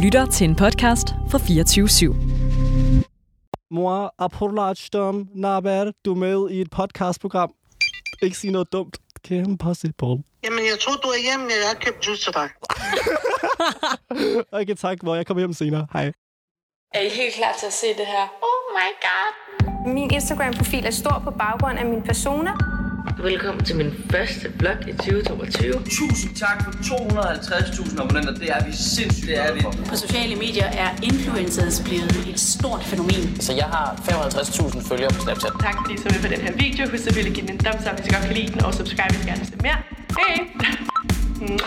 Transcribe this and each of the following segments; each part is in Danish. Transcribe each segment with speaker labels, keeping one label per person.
Speaker 1: lytter til en podcast fra 24 /7.
Speaker 2: Mor, Apollarchstorm, Naber, du er med i et podcastprogram. Ikke sige noget dumt. Kæmpe possible.
Speaker 3: Jamen, jeg tror, du er hjemme. Jeg har købt juice til dig.
Speaker 2: Okay, tak, mor. Jeg kommer hjem senere. Hej.
Speaker 4: Er I helt klar til at se det her?
Speaker 5: Min Instagram-profil er stor på baggrund af min persona.
Speaker 6: Velkommen til min første vlog i 2022.
Speaker 7: Tusind tak for 250.000 abonnenter. Det er vi sindssygt det er vi.
Speaker 8: På sociale medier er influencers blevet et stort fænomen.
Speaker 9: Så jeg har 55.000 følgere på Snapchat.
Speaker 4: Tak fordi I så med på den her video. Husk at ville give den en thumbs up, hvis I godt kan lide den, og subscribe, hvis I gerne vil se mere. Hej!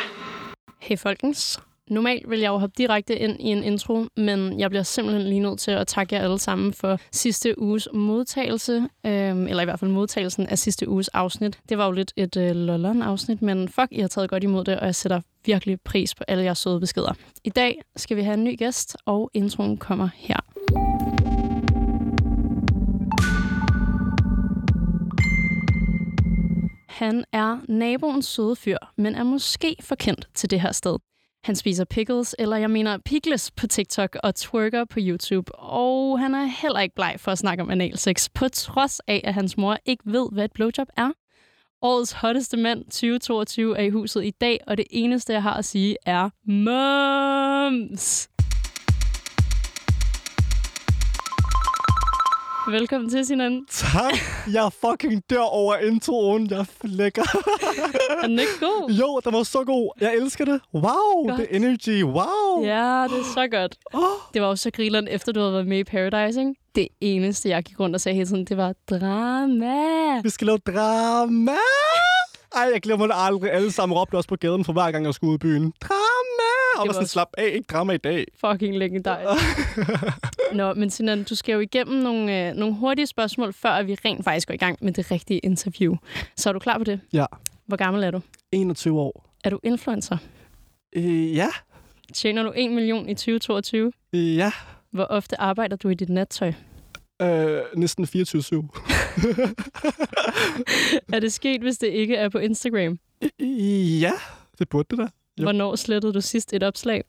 Speaker 10: Hey folkens. Normalt vil jeg jo hoppe direkte ind i en intro, men jeg bliver simpelthen lige nødt til at takke jer alle sammen for sidste uges modtagelse, øhm, eller i hvert fald modtagelsen af sidste uges afsnit. Det var jo lidt et øh, lolleren-afsnit, men fuck, I har taget godt imod det, og jeg sætter virkelig pris på alle jeres søde beskeder. I dag skal vi have en ny gæst, og introen kommer her. Han er naboens søde fyr, men er måske forkendt til det her sted. Han spiser pickles, eller jeg mener pickles på TikTok og twerker på YouTube. Og han er heller ikke bleg for at snakke om analsex, på trods af, at hans mor ikke ved, hvad et blowjob er. Årets hotteste mand 2022 er i huset i dag, og det eneste, jeg har at sige, er moms. Velkommen til, Sinan.
Speaker 2: Tak. Jeg fucking dør over introen. Jeg flækker.
Speaker 10: Er den ikke god?
Speaker 2: Jo, den var så god. Jeg elsker det. Wow,
Speaker 10: Godt.
Speaker 2: det er energy. Wow.
Speaker 10: Ja, det er så godt.
Speaker 2: Åh.
Speaker 10: Det var jo så grillen, efter du havde været med i Paradise, ikke? Det eneste, jeg gik rundt og sagde hele tiden, det var drama.
Speaker 2: Vi skal lave drama. Ej, jeg glemmer det aldrig. Alle sammen råbte også på gaden for hver gang, jeg skulle ud i byen. Drama! Og
Speaker 10: Det
Speaker 2: var
Speaker 10: var
Speaker 2: sådan,
Speaker 10: også-
Speaker 2: slap af, ikke drama i dag.
Speaker 10: Fucking legendarisk. Nå, men Sinan, du skal jo igennem nogle, øh, nogle hurtige spørgsmål, før at vi rent faktisk går i gang med det rigtige interview. Så er du klar på det?
Speaker 2: Ja.
Speaker 10: Hvor gammel er du?
Speaker 2: 21 år.
Speaker 10: Er du influencer?
Speaker 2: Øh, ja.
Speaker 10: Tjener du 1 million i 2022?
Speaker 2: Øh, ja.
Speaker 10: Hvor ofte arbejder du i dit nattøj?
Speaker 2: Øh, næsten 24-7.
Speaker 10: Er det sket, hvis det ikke er på Instagram?
Speaker 2: Øh, ja. Det burde det da. Jo.
Speaker 10: Hvornår slettede du sidst et opslag?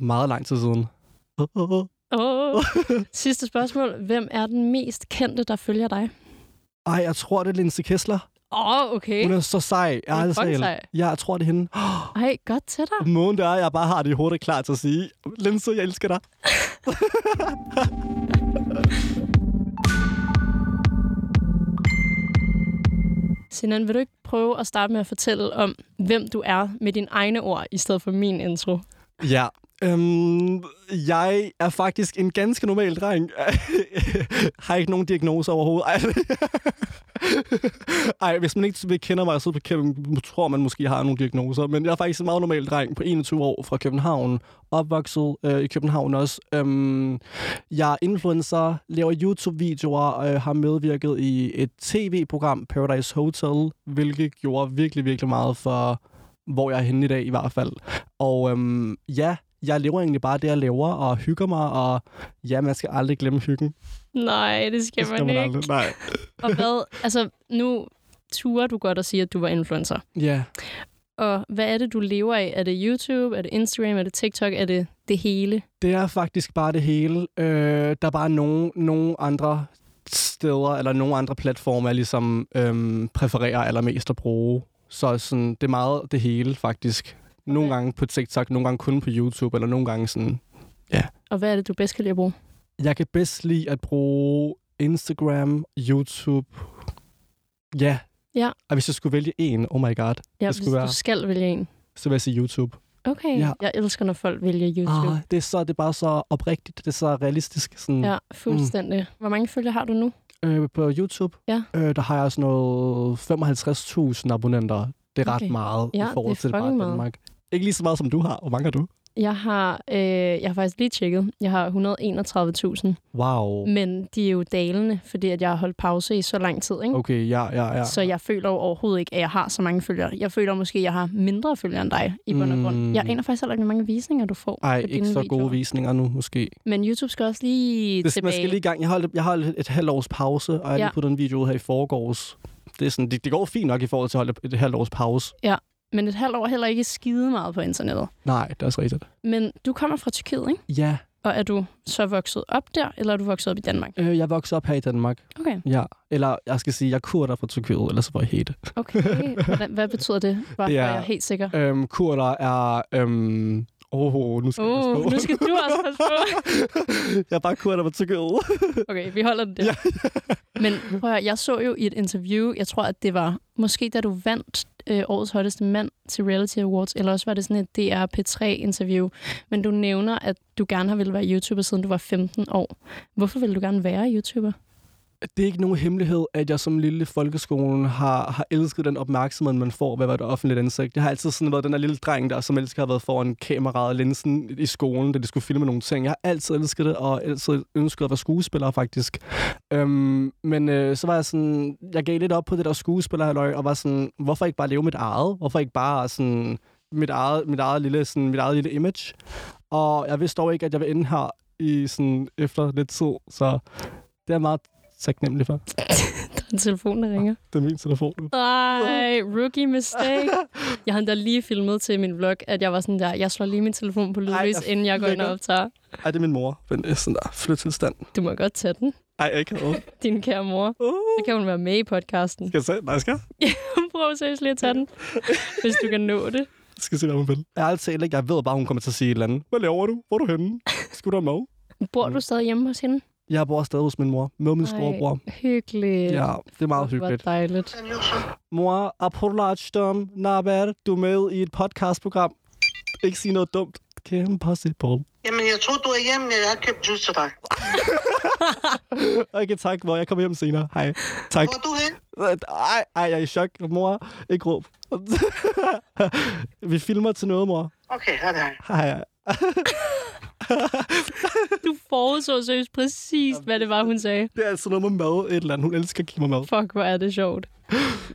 Speaker 2: Meget lang tid siden.
Speaker 10: Oh. Sidste spørgsmål. Hvem er den mest kendte, der følger dig?
Speaker 2: Ej, jeg tror, det er Lindsay Kessler.
Speaker 10: Åh, oh, okay.
Speaker 2: Hun er så sej. Jeg, har
Speaker 10: Hun er
Speaker 2: aldrig set
Speaker 10: fucking
Speaker 2: hende.
Speaker 10: sej.
Speaker 2: Ja, jeg tror, det er hende.
Speaker 10: Ej, godt til dig.
Speaker 2: Måden det er, jeg bare har det i hovedet klar til at sige. Lindsay, jeg elsker dig.
Speaker 10: Sinan, vil du ikke prøve at starte med at fortælle om, hvem du er med dine egne ord, i stedet for min intro?
Speaker 2: Ja. Øhm, jeg er faktisk en ganske normal dreng. har ikke nogen diagnose overhovedet. Ej, Ej, hvis man ikke kender mig, så kan- tror man måske, jeg har nogle diagnoser. Men jeg er faktisk en meget normal dreng på 21 år fra København. Opvokset øh, i København også. Øhm, jeg er influencer, laver YouTube-videoer, øh, har medvirket i et tv-program, Paradise Hotel, hvilket gjorde virkelig, virkelig meget for hvor jeg er henne i dag i hvert fald. Og øhm, ja, jeg lever egentlig bare det, jeg laver, og hygger mig, og ja, man skal aldrig glemme hyggen.
Speaker 10: Nej, det skal,
Speaker 2: Det skal
Speaker 10: man
Speaker 2: man
Speaker 10: ikke.
Speaker 2: aldrig. Nej.
Speaker 10: Og hvad, altså, nu turer du godt at sige, at du var influencer.
Speaker 2: Ja.
Speaker 10: Og hvad er det, du lever af? Er det YouTube? Er det Instagram? Er det TikTok? Er det det hele?
Speaker 2: Det er faktisk bare det hele. Øh, der er bare nogle, nogle andre steder, eller nogle andre platforme, jeg ligesom øhm, præfererer allermest at bruge. Så sådan, det er meget det hele, faktisk. Nogle gange på TikTok, nogle gange kun på YouTube, eller nogle gange sådan...
Speaker 10: Og hvad er det, du bedst kan lide at bruge?
Speaker 2: Jeg kan bedst lide at bruge Instagram, YouTube... Ja.
Speaker 10: Ja.
Speaker 2: Og hvis jeg skulle vælge en, oh my god,
Speaker 10: Ja,
Speaker 2: Det
Speaker 10: hvis
Speaker 2: skulle være-
Speaker 10: du skal vælge en.
Speaker 2: så vil jeg sige YouTube.
Speaker 10: Okay,
Speaker 2: Ja.
Speaker 10: ja. jeg elsker, når folk vælger YouTube.
Speaker 2: Ah, det, er så, det er bare så oprigtigt, det er så realistisk. Sådan,
Speaker 10: Ja, fuldstændig. Mm. Hvor mange følgere har du nu?
Speaker 2: øh, på YouTube,
Speaker 10: Ja.
Speaker 2: øh, der har jeg sådan noget 55.000 abonnenter. Det er ret
Speaker 10: Okay.
Speaker 2: meget
Speaker 10: Ja,
Speaker 2: i forhold
Speaker 10: det er
Speaker 2: til bare
Speaker 10: fucking meget.
Speaker 2: Danmark. Ikke lige så meget, som du har. Hvor mange har du?
Speaker 10: Jeg har, øh, jeg har faktisk lige tjekket. Jeg har 131.000.
Speaker 2: Wow.
Speaker 10: Men de er jo dalende, fordi at jeg har holdt pause i så lang tid. Ikke?
Speaker 2: Okay, ja, ja, ja.
Speaker 10: Så jeg føler jo overhovedet ikke, at jeg har så mange følgere. Jeg føler måske, at jeg har mindre følgere end dig i bund og grund.
Speaker 2: Mm.
Speaker 10: Mm. Jeg aner faktisk heller ikke, hvor mange visninger du får
Speaker 2: Ej,
Speaker 10: på
Speaker 2: ikke
Speaker 10: dine
Speaker 2: så
Speaker 10: videoer.
Speaker 2: gode visninger nu, måske.
Speaker 10: Men YouTube skal også lige
Speaker 2: Det, man
Speaker 10: tilbage.
Speaker 2: skal lige i gang. Jeg holdt, jeg holdt et halvt års pause, og jeg har
Speaker 10: Ja.
Speaker 2: lige puttet en video ud her i forgårs. Det, er sådan, det, det går fint nok i forhold til at holde et halvt års pause.
Speaker 10: men et halvt år heller ikke skide meget på internettet.
Speaker 2: Nej, det er også rigtigt.
Speaker 10: Men du kommer fra Tyrkiet, ikke?
Speaker 2: Ja,
Speaker 10: Og er du så vokset op der, eller er du vokset op i Danmark?
Speaker 2: øh, jeg voksede op her i Danmark.
Speaker 10: Okay,
Speaker 2: Ja, eller jeg skal sige, jeg er kurder fra Tyrkiet, ellers var jeg helt.
Speaker 10: okay. Hvordan, hvad betyder det? Var,
Speaker 2: Det
Speaker 10: ja.
Speaker 2: er-
Speaker 10: var jeg helt sikker?
Speaker 2: Øhm, kurder er... Øhm, Åh, oh, nu skal jeg
Speaker 10: Uh,
Speaker 2: passe på.
Speaker 10: nu skal du også passe på.
Speaker 2: jeg er bare kurder fra Tyrkiet.
Speaker 10: Okay, vi holder den der. Ja. Men prøv at høre, jeg så jo i et interview, jeg tror, at det var måske da du vandt øh, årets hotteste mand til Reality Awards, eller også var det sådan et DR P3-interview, men du nævner, at du gerne har ville være YouTuber, siden du var 15 år. Hvorfor ville du gerne være YouTuber?
Speaker 2: Det er ikke nogen hemmelighed, at jeg som lille i folkeskolen har, har elsket den opmærksomhed, man får ved at være et offentligt ansigt. Jeg har altid sådan været den der lille dreng der, som elsker at have været foran kameraet og linsen i skolen, da de skulle filme nogle ting. Jeg har altid elsket det, og altid ønsket at være skuespiller faktisk. Øhm, men øh, så var jeg sådan, jeg gav lidt op på det der skuespiller og var sådan, hvorfor ikke bare leve mit eget? Hvorfor ikke bare sådan mit eget, mit eget, lille, sådan, mit eget lille image? Og jeg vidste dog ikke, at jeg ville ende her i sådan, efter lidt tid, så det er jeg meget taknemmelig for.
Speaker 10: Der er en telefon, der ringer.
Speaker 2: Det er min telefon.
Speaker 10: Ej, rookie mistake. Jeg har endda lige filmet til min vlog, at jeg var sådan der, jeg slår lige min telefon på
Speaker 2: Ej,
Speaker 10: lydløs,
Speaker 2: hvor
Speaker 10: inden jeg går ind og
Speaker 2: lækkert.
Speaker 10: optager.
Speaker 2: Ej, det er min mor. Men det er sådan der flyttilstand.
Speaker 10: Du må godt tage den,
Speaker 2: Ej, jeg kan ikke.
Speaker 10: din kære mor.
Speaker 2: Uh,
Speaker 10: Så kan hun være med i podcasten.
Speaker 2: skal jeg se? Nej, skal jeg?
Speaker 10: Prøv seriøst lige at tage den, hvis du kan nå det.
Speaker 2: Jeg skal se, hvad hun vil. Jeg, altid, ikke, jeg ved bare, hun kommer til at sige et eller andet. Hvad laver du? Hvor er du henne? Skal du have mad?
Speaker 10: Bor du stadig hjemme hos hende?
Speaker 2: Jeg bor stadig hos min mor. Med Mm. min
Speaker 10: Ej,
Speaker 2: storebror.
Speaker 10: Hyggeligt.
Speaker 2: Ja, det er meget hyggeligt.
Speaker 10: Hvor dejligt.
Speaker 3: Hasan Yusuf.
Speaker 2: Mor, Apollardsdom, Naber, du er med i et podcastprogram. Ikke sige noget dumt. Kæmpe possible.
Speaker 3: Jamen, jeg troede, du var hjemme, jeg har købt juice til dig.
Speaker 2: Okay, tak, mor. Jeg kommer hjem senere. Hej. Tak.
Speaker 3: Hvor er du hen?
Speaker 2: Ej, ej, jeg er i chok. Mor, ikke råb. Vi filmer til noget, mor.
Speaker 3: Okay, her er det.
Speaker 2: Hej.
Speaker 10: Du forudså seriøst præcis, hvad det var, hun sagde.
Speaker 2: Det er altså noget med mad, et eller andet. Hun elsker at give mig mad.
Speaker 10: Fuck, hvor er det sjovt.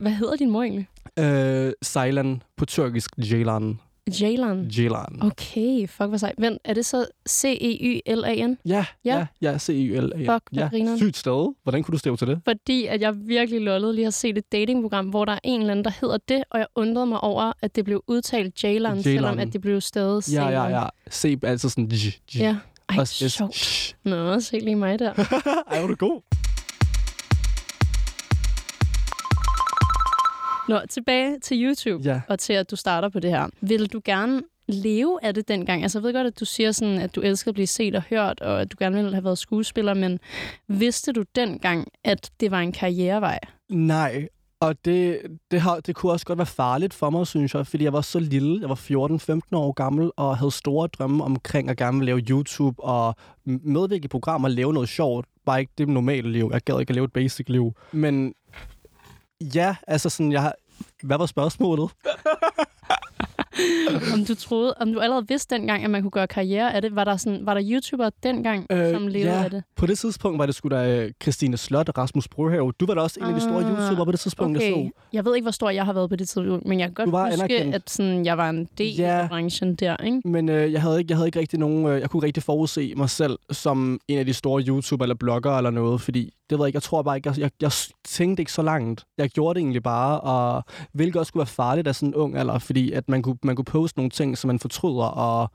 Speaker 10: Hvad hedder din mor egentlig?
Speaker 2: Øh, Ceylan på tyrkisk, Ceylan.
Speaker 10: Jalan.
Speaker 2: Ceylan.
Speaker 10: Mm. Okay, fuck, hvor sejt. Vent, er det så E C-E-Y-L-A-N?
Speaker 2: Ja,
Speaker 10: Ja.
Speaker 2: ja, ja, c e l a
Speaker 10: Fuck, hvor
Speaker 2: ja.
Speaker 10: grineren.
Speaker 2: Sygt sted. Hvordan kunne du stave til det?
Speaker 10: Fordi at jeg virkelig lollede lige har set et datingprogram, hvor der er en eller anden, der hedder det, og jeg undrede mig over, at det blev udtalt Jalan,
Speaker 2: Jalan.
Speaker 10: selvom at det blev stadig E
Speaker 2: Ja, ja, ja. C, altså sådan... G, g.
Speaker 10: Ja. Ej,
Speaker 2: Også S.
Speaker 10: sjovt.
Speaker 2: Shh.
Speaker 10: Nå, se lige mig der.
Speaker 2: Ej, hvor er du god.
Speaker 10: Nå, tilbage til YouTube,
Speaker 2: Ja.
Speaker 10: og til at du starter på det her. Vil du gerne leve af det dengang? Altså, jeg ved godt, at du siger sådan, at du elsker at blive set og hørt, og at du gerne ville have været skuespiller, men vidste du dengang, at det var en karrierevej?
Speaker 2: Nej, og det, det, har, det kunne også godt være farligt for mig, synes jeg, fordi jeg var så lille. Jeg var 14-15 år gammel og havde store drømme omkring at gerne ville lave YouTube og m- medvirke i programmer og lave noget sjovt. Bare ikke det normale liv. Jeg gad ikke at leve et basic liv. Men ja, altså sådan, jeg har... Hvad var spørgsmålet?
Speaker 10: Om du troede, om du allerede vidste dengang, at man kunne gøre karriere af det? Var der, sådan, var der YouTuber dengang, øh, som levede
Speaker 2: ja,
Speaker 10: af det?
Speaker 2: På det tidspunkt var det sgu da øh, Christine Slot og Rasmus Brohave. Du var da også en af de store
Speaker 10: Ah,
Speaker 2: YouTubere på det tidspunkt, jeg
Speaker 10: Okay,
Speaker 2: så.
Speaker 10: jeg ved ikke, hvor stor jeg har været på det tidspunkt, men jeg kan
Speaker 2: Du var
Speaker 10: godt huske,
Speaker 2: anerkendt.
Speaker 10: at sådan, jeg var en del
Speaker 2: Ja.
Speaker 10: af branchen der, ikke?
Speaker 2: Men øh, jeg havde ikke, jeg havde ikke rigtig nogen, øh, jeg kunne ikke rigtig forudse mig selv som en af de store YouTuber eller bloggere eller noget, fordi det ved jeg ikke, jeg tror bare ikke, jeg, jeg, jeg tænkte ikke så langt. Jeg gjorde det egentlig bare, og hvilket også skulle være farligt af sådan en ung alder, fordi at man kunne, man kunne poste nogle ting, som man fortryder, og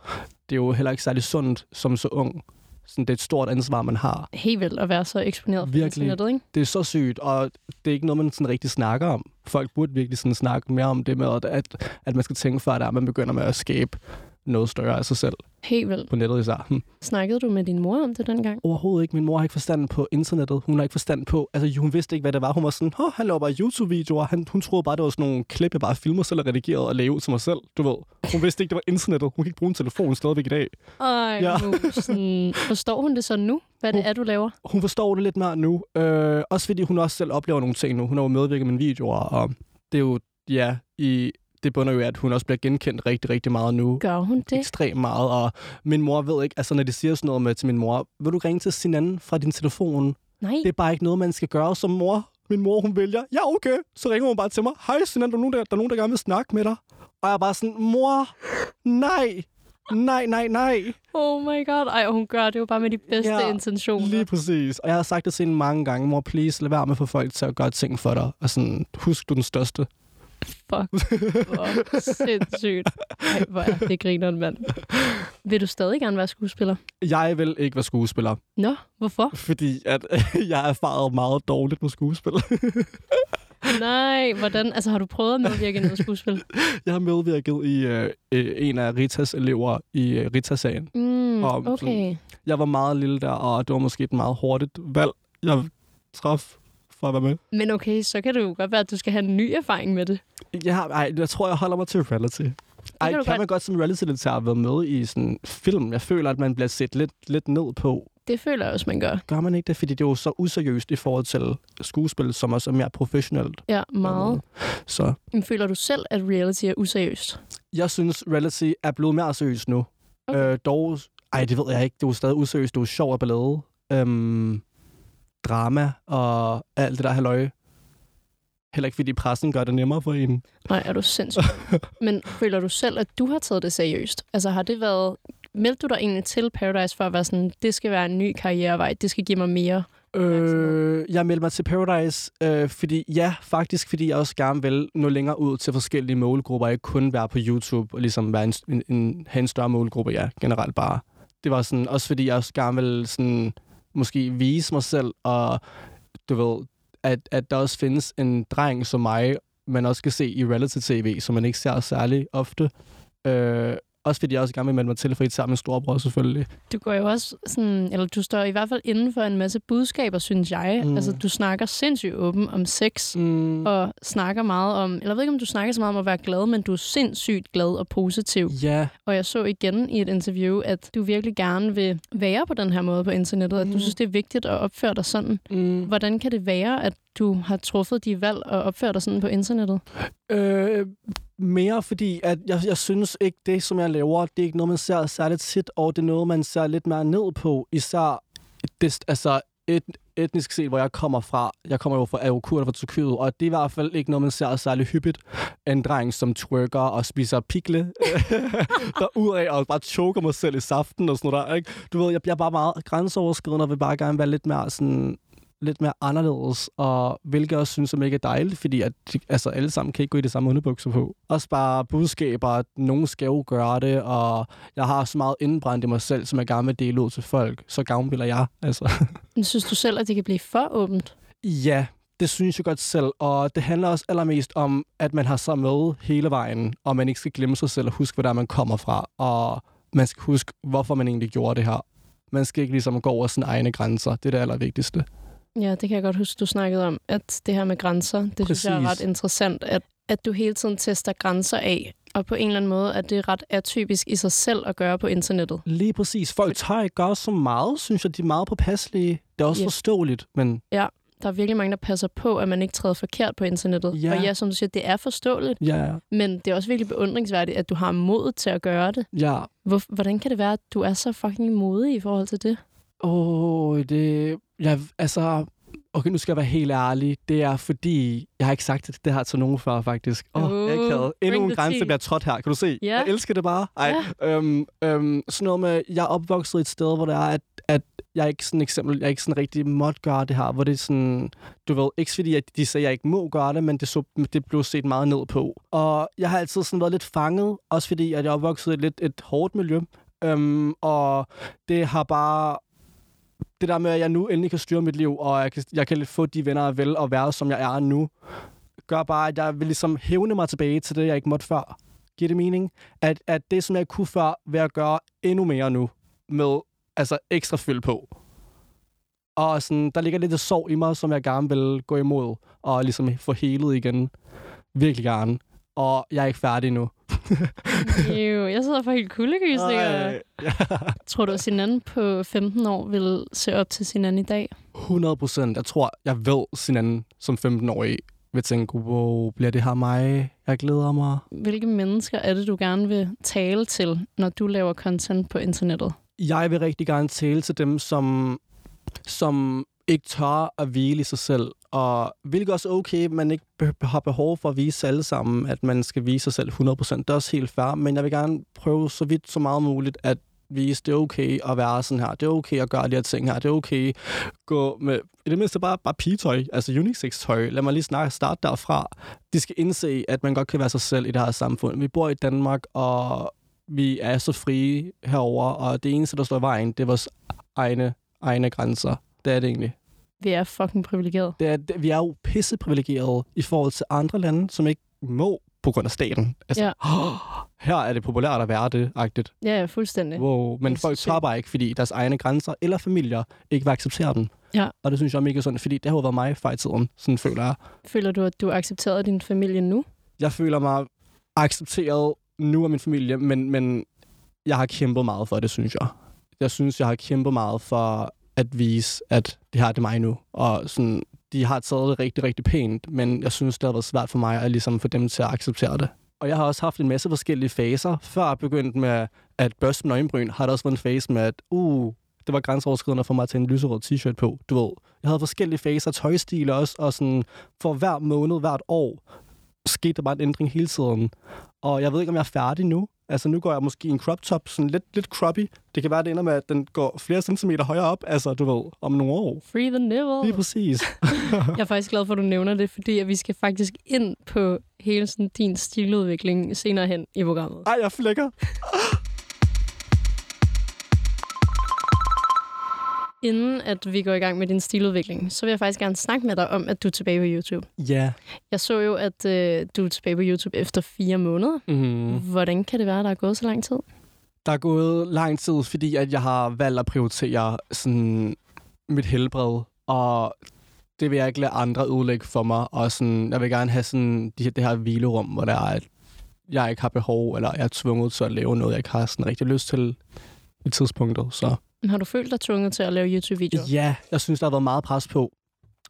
Speaker 2: det er jo heller ikke særlig sundt som så ung. Sådan, det er et stort ansvar, man har.
Speaker 10: Helt vildt at være så eksponeret på
Speaker 2: Virkelig.
Speaker 10: internettet, ikke?
Speaker 2: Det er så sygt, og det er ikke noget, man sådan rigtig snakker om. Folk burde virkelig sådan snakke mere om det med, at, at, at man skal tænke før, at man begynder med at skabe noget større af sig selv
Speaker 10: Helt vildt.
Speaker 2: på nettet især. Hm.
Speaker 10: Snakkede du med din mor om det dengang?
Speaker 2: overhovedet ikke. Min mor har ikke forstand på internettet. Hun har ikke forstand på... Altså, hun vidste ikke, hvad det var. Hun var sådan, Åh, han laver bare YouTube-videoer. Han, hun troede bare, det var sådan nogle klip, jeg bare filmer selv og redigerede og lavede ud til mig selv. Du ved. Hun vidste ikke, det var internettet. Hun kan ikke bruge en telefon stadigvæk i dag.
Speaker 10: Ej, ja.
Speaker 2: Ja.
Speaker 10: musen. Forstår hun det så nu, hvad det er, du laver?
Speaker 2: Hun forstår det lidt mere nu. Øh, også fordi hun også selv oplever nogle ting nu. Hun har jo medvirket med mine videoer, og det er jo... Ja, i, det bunder jo i, at hun også bliver genkendt rigtig, rigtig meget nu.
Speaker 10: Gør hun det?
Speaker 2: ekstremt meget, og min mor ved ikke, altså når de siger sådan noget med til min mor, vil du ringe til Sinan fra din telefon?
Speaker 10: Nej.
Speaker 2: Det er bare ikke noget, man skal gøre som mor. Min mor, hun vælger, ja okay, så ringer hun bare til mig, hej Sinan, der er nogen, der, der, er nogen, der gerne vil snakke med dig. Og jeg er bare sådan, mor, nej, nej, nej, nej.
Speaker 10: Oh my god. Ej, og hun gør det jo bare med de bedste ja,
Speaker 2: Ja,
Speaker 10: intentioner.
Speaker 2: Lige præcis. Og jeg har sagt det til hende mange gange, mor, please, lad være med at få folk til at gøre ting for dig. Og sådan, husk, du er den største.
Speaker 10: Fuck, hvor sindssygt. Ej, hvor er det grineren, mand. Vil du stadig gerne være skuespiller?
Speaker 2: Jeg vil ikke være skuespiller,
Speaker 10: Nå, hvorfor?
Speaker 2: fordi at, jeg er erfaret meget dårligt med skuespil.
Speaker 10: Nej, hvordan? Altså, har du prøvet at medvirke i noget skuespil?
Speaker 2: jeg har medvirket i øh, øh, en af Ritas elever i øh, Rita-sagen.
Speaker 10: Mm,
Speaker 2: Om sådan-
Speaker 10: okay.
Speaker 2: Jeg var meget lille der, og det var måske et meget hurtigt valg, jeg traf for at være med.
Speaker 10: Men okay, så kan det jo godt være, at du skal have en ny erfaring med det.
Speaker 2: Jeg, har, ej, jeg tror, jeg holder mig til reality. Ej,
Speaker 10: kan du
Speaker 2: kan,
Speaker 10: godt.
Speaker 2: man godt som reality-deltager have været med i sådan film? Jeg føler, at man bliver set lidt, lidt ned på.
Speaker 10: Det føler jeg også, man gør.
Speaker 2: Gør man ikke det? Fordi det er jo så useriøst i forhold til skuespil, som også er mere professionelt.
Speaker 10: Ja, meget.
Speaker 2: Så
Speaker 10: Men føler du selv, at reality er useriøst?
Speaker 2: jeg synes, reality er blevet mere seriøst nu.
Speaker 10: Okay.
Speaker 2: Okay. Øh, dog, ej, det ved jeg ikke. Det er jo stadig useriøst. Det er jo sjov og ballade. Øhm, drama og alt det der halløj. Heller ikke, fordi pressen gør det nemmere for en.
Speaker 10: Nej, er du sindssyg. Men føler du selv, at du har taget det seriøst? Altså har det været... Meldte du dig egentlig til Paradise for at være sådan, det skal være en ny karrierevej, det skal give mig mere?
Speaker 2: Øh, jeg meldte mig til Paradise, øh, fordi ja, faktisk, fordi jeg også gerne vil nå længere ud til forskellige målgrupper, ikke kun være på YouTube og ligesom være en, en, en, have en større målgruppe, ja, generelt bare. Det var sådan, også fordi jeg også gerne vil sådan, måske vise mig selv, og du ved, at, at der også findes en dreng som mig, man også kan se i reality-tv, som man ikke ser særlig ofte. Øh, også fordi jeg også gerne vil melde mig til, for I tager min storebror selvfølgelig.
Speaker 10: Du går jo også sådan, eller du står i hvert fald inden for en masse budskaber, synes jeg. Mm.
Speaker 2: Mm.
Speaker 10: Altså, du snakker sindssygt åben om sex,
Speaker 2: Mm.
Speaker 10: og snakker meget om, eller jeg ved ikke, om du snakker så meget om at være glad, men du er sindssygt glad og positiv.
Speaker 2: Ja,
Speaker 10: Og jeg så igen i et interview, at du virkelig gerne vil være på den her måde på internettet, at du synes, det er vigtigt at opføre dig sådan.
Speaker 2: mm.
Speaker 10: Hvordan kan det være, at du har truffet de valg og opført dig sådan på internettet?
Speaker 2: Øh, mere fordi, at jeg, jeg synes ikke, det som jeg laver, det er ikke noget, man ser særligt tit, og det er noget, man ser lidt mere ned på, især det, altså et, etnisk set, hvor jeg kommer fra. Jeg kommer jo fra er jo kurder fra Tyrkiet, og det er i hvert fald ikke noget, man ser særlig hyppigt. En dreng, som twerker og spiser pikle derudad, og bare choker mig selv i saften og sådan noget der, ikke? Du ved, jeg, jeg er bare meget grænseoverskridende og vil bare gerne være lidt mere sådan lidt mere anderledes, og hvilket jeg også synes er mega dejligt, fordi at, de- altså, alle sammen kan ikke gå i det samme underbukser på. Også bare budskaber, at nogen skal jo gøre det, og jeg har så meget indbrændt i mig selv, som jeg gerne vil dele ud til folk. Så gavnbilder jeg, altså.
Speaker 10: Men Synes du selv, at det kan blive for åbent?
Speaker 2: Ja, det synes jeg godt selv, og det handler også allermest om, at man har sig med hele vejen, og man ikke skal glemme sig selv og huske, hvor der man kommer fra, og man skal huske, hvorfor man egentlig gjorde det her. Man skal ikke ligesom gå over sine egne grænser. Det er det allervigtigste.
Speaker 10: Ja, det kan jeg godt huske, du snakkede om, at det her med grænser, det Præcis. synes jeg er ret
Speaker 2: Præcis.
Speaker 10: interessant, at, at du hele tiden tester grænser af, og på en eller anden måde er det ret atypisk i sig selv at gøre på internettet.
Speaker 2: Lige præcis. Folk tør ikke gøre så meget, synes jeg. De er meget påpasselige. Det er også
Speaker 10: Ja.
Speaker 2: yeah. forståeligt, men
Speaker 10: Der er virkelig mange, der passer på, at man ikke træder forkert på internettet.
Speaker 2: Ja.
Speaker 10: Og ja, som du siger, det er forståeligt,
Speaker 2: ja,
Speaker 10: men det er også virkelig beundringsværdigt, at du har modet til at gøre det.
Speaker 2: ja.
Speaker 10: Hvor, hvordan kan det være, at du er så fucking modig i forhold til det?
Speaker 2: Åh, oh, det... Jeg, altså... Okay, nu skal jeg være helt ærlig. Det er fordi, jeg har ikke sagt det her til nogen før, faktisk. Åh,
Speaker 10: Uh,
Speaker 2: oh, jeg er akavet.
Speaker 10: bring
Speaker 2: Endnu en
Speaker 10: the
Speaker 2: grænse
Speaker 10: tea.
Speaker 2: bliver trådt her. Kan du se?
Speaker 10: Ja.
Speaker 2: Jeg elsker det bare. Ej, øhm, øhm, sådan noget med, jeg er opvokset et sted, hvor det er, at, at jeg ikke sådan eksempel, jeg ikke sådan rigtig måtte gøre det her, hvor det er sådan, du ved, ikke fordi at de sagde, at jeg ikke må gøre det, men det, så, det blev set meget ned på. Og jeg har altid sådan været lidt fanget, også fordi at jeg er opvokset i et lidt et hårdt miljø, øhm, og det har bare det der med, at jeg nu endelig kan styre mit liv, og jeg kan, jeg kan få de venner jeg vil og være, som jeg er nu, gør bare, at jeg vil ligesom hævne mig tilbage til det, jeg ikke måtte før. Giver det mening? At, at det, som jeg kunne før, vil jeg gøre endnu mere nu, med altså ekstra fyld på. Og sådan, der ligger lidt et sorg i mig, som jeg gerne vil gå imod, og ligesom få helet igen. Virkelig gerne. Og jeg er ikke færdig nu.
Speaker 10: Jo, jeg sidder for helt kuldegysninger.
Speaker 2: Ej, ja.
Speaker 10: Tror du, at Sinan på 15 år vil se op til Sinan i dag?
Speaker 2: 100 procent. Jeg tror, jeg ved sin anden som 15-årig vil tænke, wow, bliver det her mig? Jeg glæder mig.
Speaker 10: Hvilke mennesker er det, du gerne vil tale til, når du laver content på internettet?
Speaker 2: Jeg vil rigtig gerne tale til dem, som, som ikke tør at hvile i sig selv. Og hvilket også er okay, man ikke be- har behov for at vise alle sammen, at man skal vise sig selv 100%. Det er også helt fair, men jeg vil gerne prøve så vidt så meget muligt at vise, det er okay at være sådan her, det er okay at gøre de her ting her, det er okay gå med, i det mindste bare, bare pigetøj, altså unisex-tøj. Lad mig lige snakke, starte derfra. De skal indse, at man godt kan være sig selv i det her samfund. Vi bor i Danmark, og vi er så frie herover, og det eneste, der står i vejen, det er vores egne, egne grænser. Det er det egentlig.
Speaker 10: Vi er fucking privilegerede.
Speaker 2: Det er, det, vi er jo pisseprivilegerede i forhold til andre lande, som ikke må på grund af staten. Altså,
Speaker 10: Ja.
Speaker 2: ja. oh, her er det populært at være det, agtigt.
Speaker 10: Ja, ja, fuldstændig.
Speaker 2: Wow. Men
Speaker 10: Det er
Speaker 2: folk
Speaker 10: sindssygt.
Speaker 2: tør bare ikke, fordi deres egne grænser eller familier ikke vil acceptere dem.
Speaker 10: Ja.
Speaker 2: Og det synes jeg er mega sundt, fordi det har jo været mig før i tiden, sådan føler jeg.
Speaker 10: Føler du, at du accepterede din familie nu?
Speaker 2: Jeg føler mig accepteret nu af min familie, men, men jeg har kæmpet meget for det, synes jeg. Jeg synes, jeg har kæmpet meget for at vise, at det her det er mig nu. Og sådan, de har taget det rigtig, rigtig pænt, men jeg synes, det har været svært for mig at ligesom få dem til at acceptere det. Og jeg har også haft en masse forskellige faser. Før jeg begyndte med at børste med øjenbryn, har der også været en fase med, at uh, det var grænseoverskridende for mig at tage en lyserød t-shirt på, du ved. Jeg havde forskellige faser, tøjstil også, og sådan for hver måned, hvert år, skete der bare en ændring hele tiden. Og jeg ved ikke, om jeg er færdig nu. Altså, nu går jeg måske i en crop top, sådan lidt, lidt croppy. Det kan være, det ender med, at den går flere centimeter højere op, altså, du ved, om nogle år.
Speaker 10: Free the nipple.
Speaker 2: Lige præcis.
Speaker 10: Jeg er faktisk glad for, at du nævner det, fordi at vi skal faktisk ind på hele sådan, din stiludvikling senere hen i programmet.
Speaker 2: Ej, jeg flækker.
Speaker 10: Inden at vi går i gang med din stiludvikling, så vil jeg faktisk gerne snakke med dig om, at du er tilbage på YouTube.
Speaker 2: Ja.
Speaker 10: Jeg så jo, at øh, du er tilbage på YouTube efter fire måneder.
Speaker 2: Mm.
Speaker 10: Hvordan kan det være, at der er gået så lang tid?
Speaker 2: Der er gået lang tid, fordi at jeg har valgt at prioritere sådan mit helbred, og det vil jeg ikke lade andre ødelægge for mig, og sådan, jeg vil gerne have sådan de, det her hvilerum, hvor der er, at jeg ikke har behov, eller jeg er tvunget til at lave noget, jeg ikke har sådan rigtig lyst til i tidspunktet, så...
Speaker 10: Har du følt dig tvunget til at lave YouTube-videoer?
Speaker 2: Ja, jeg synes, der har været meget pres på.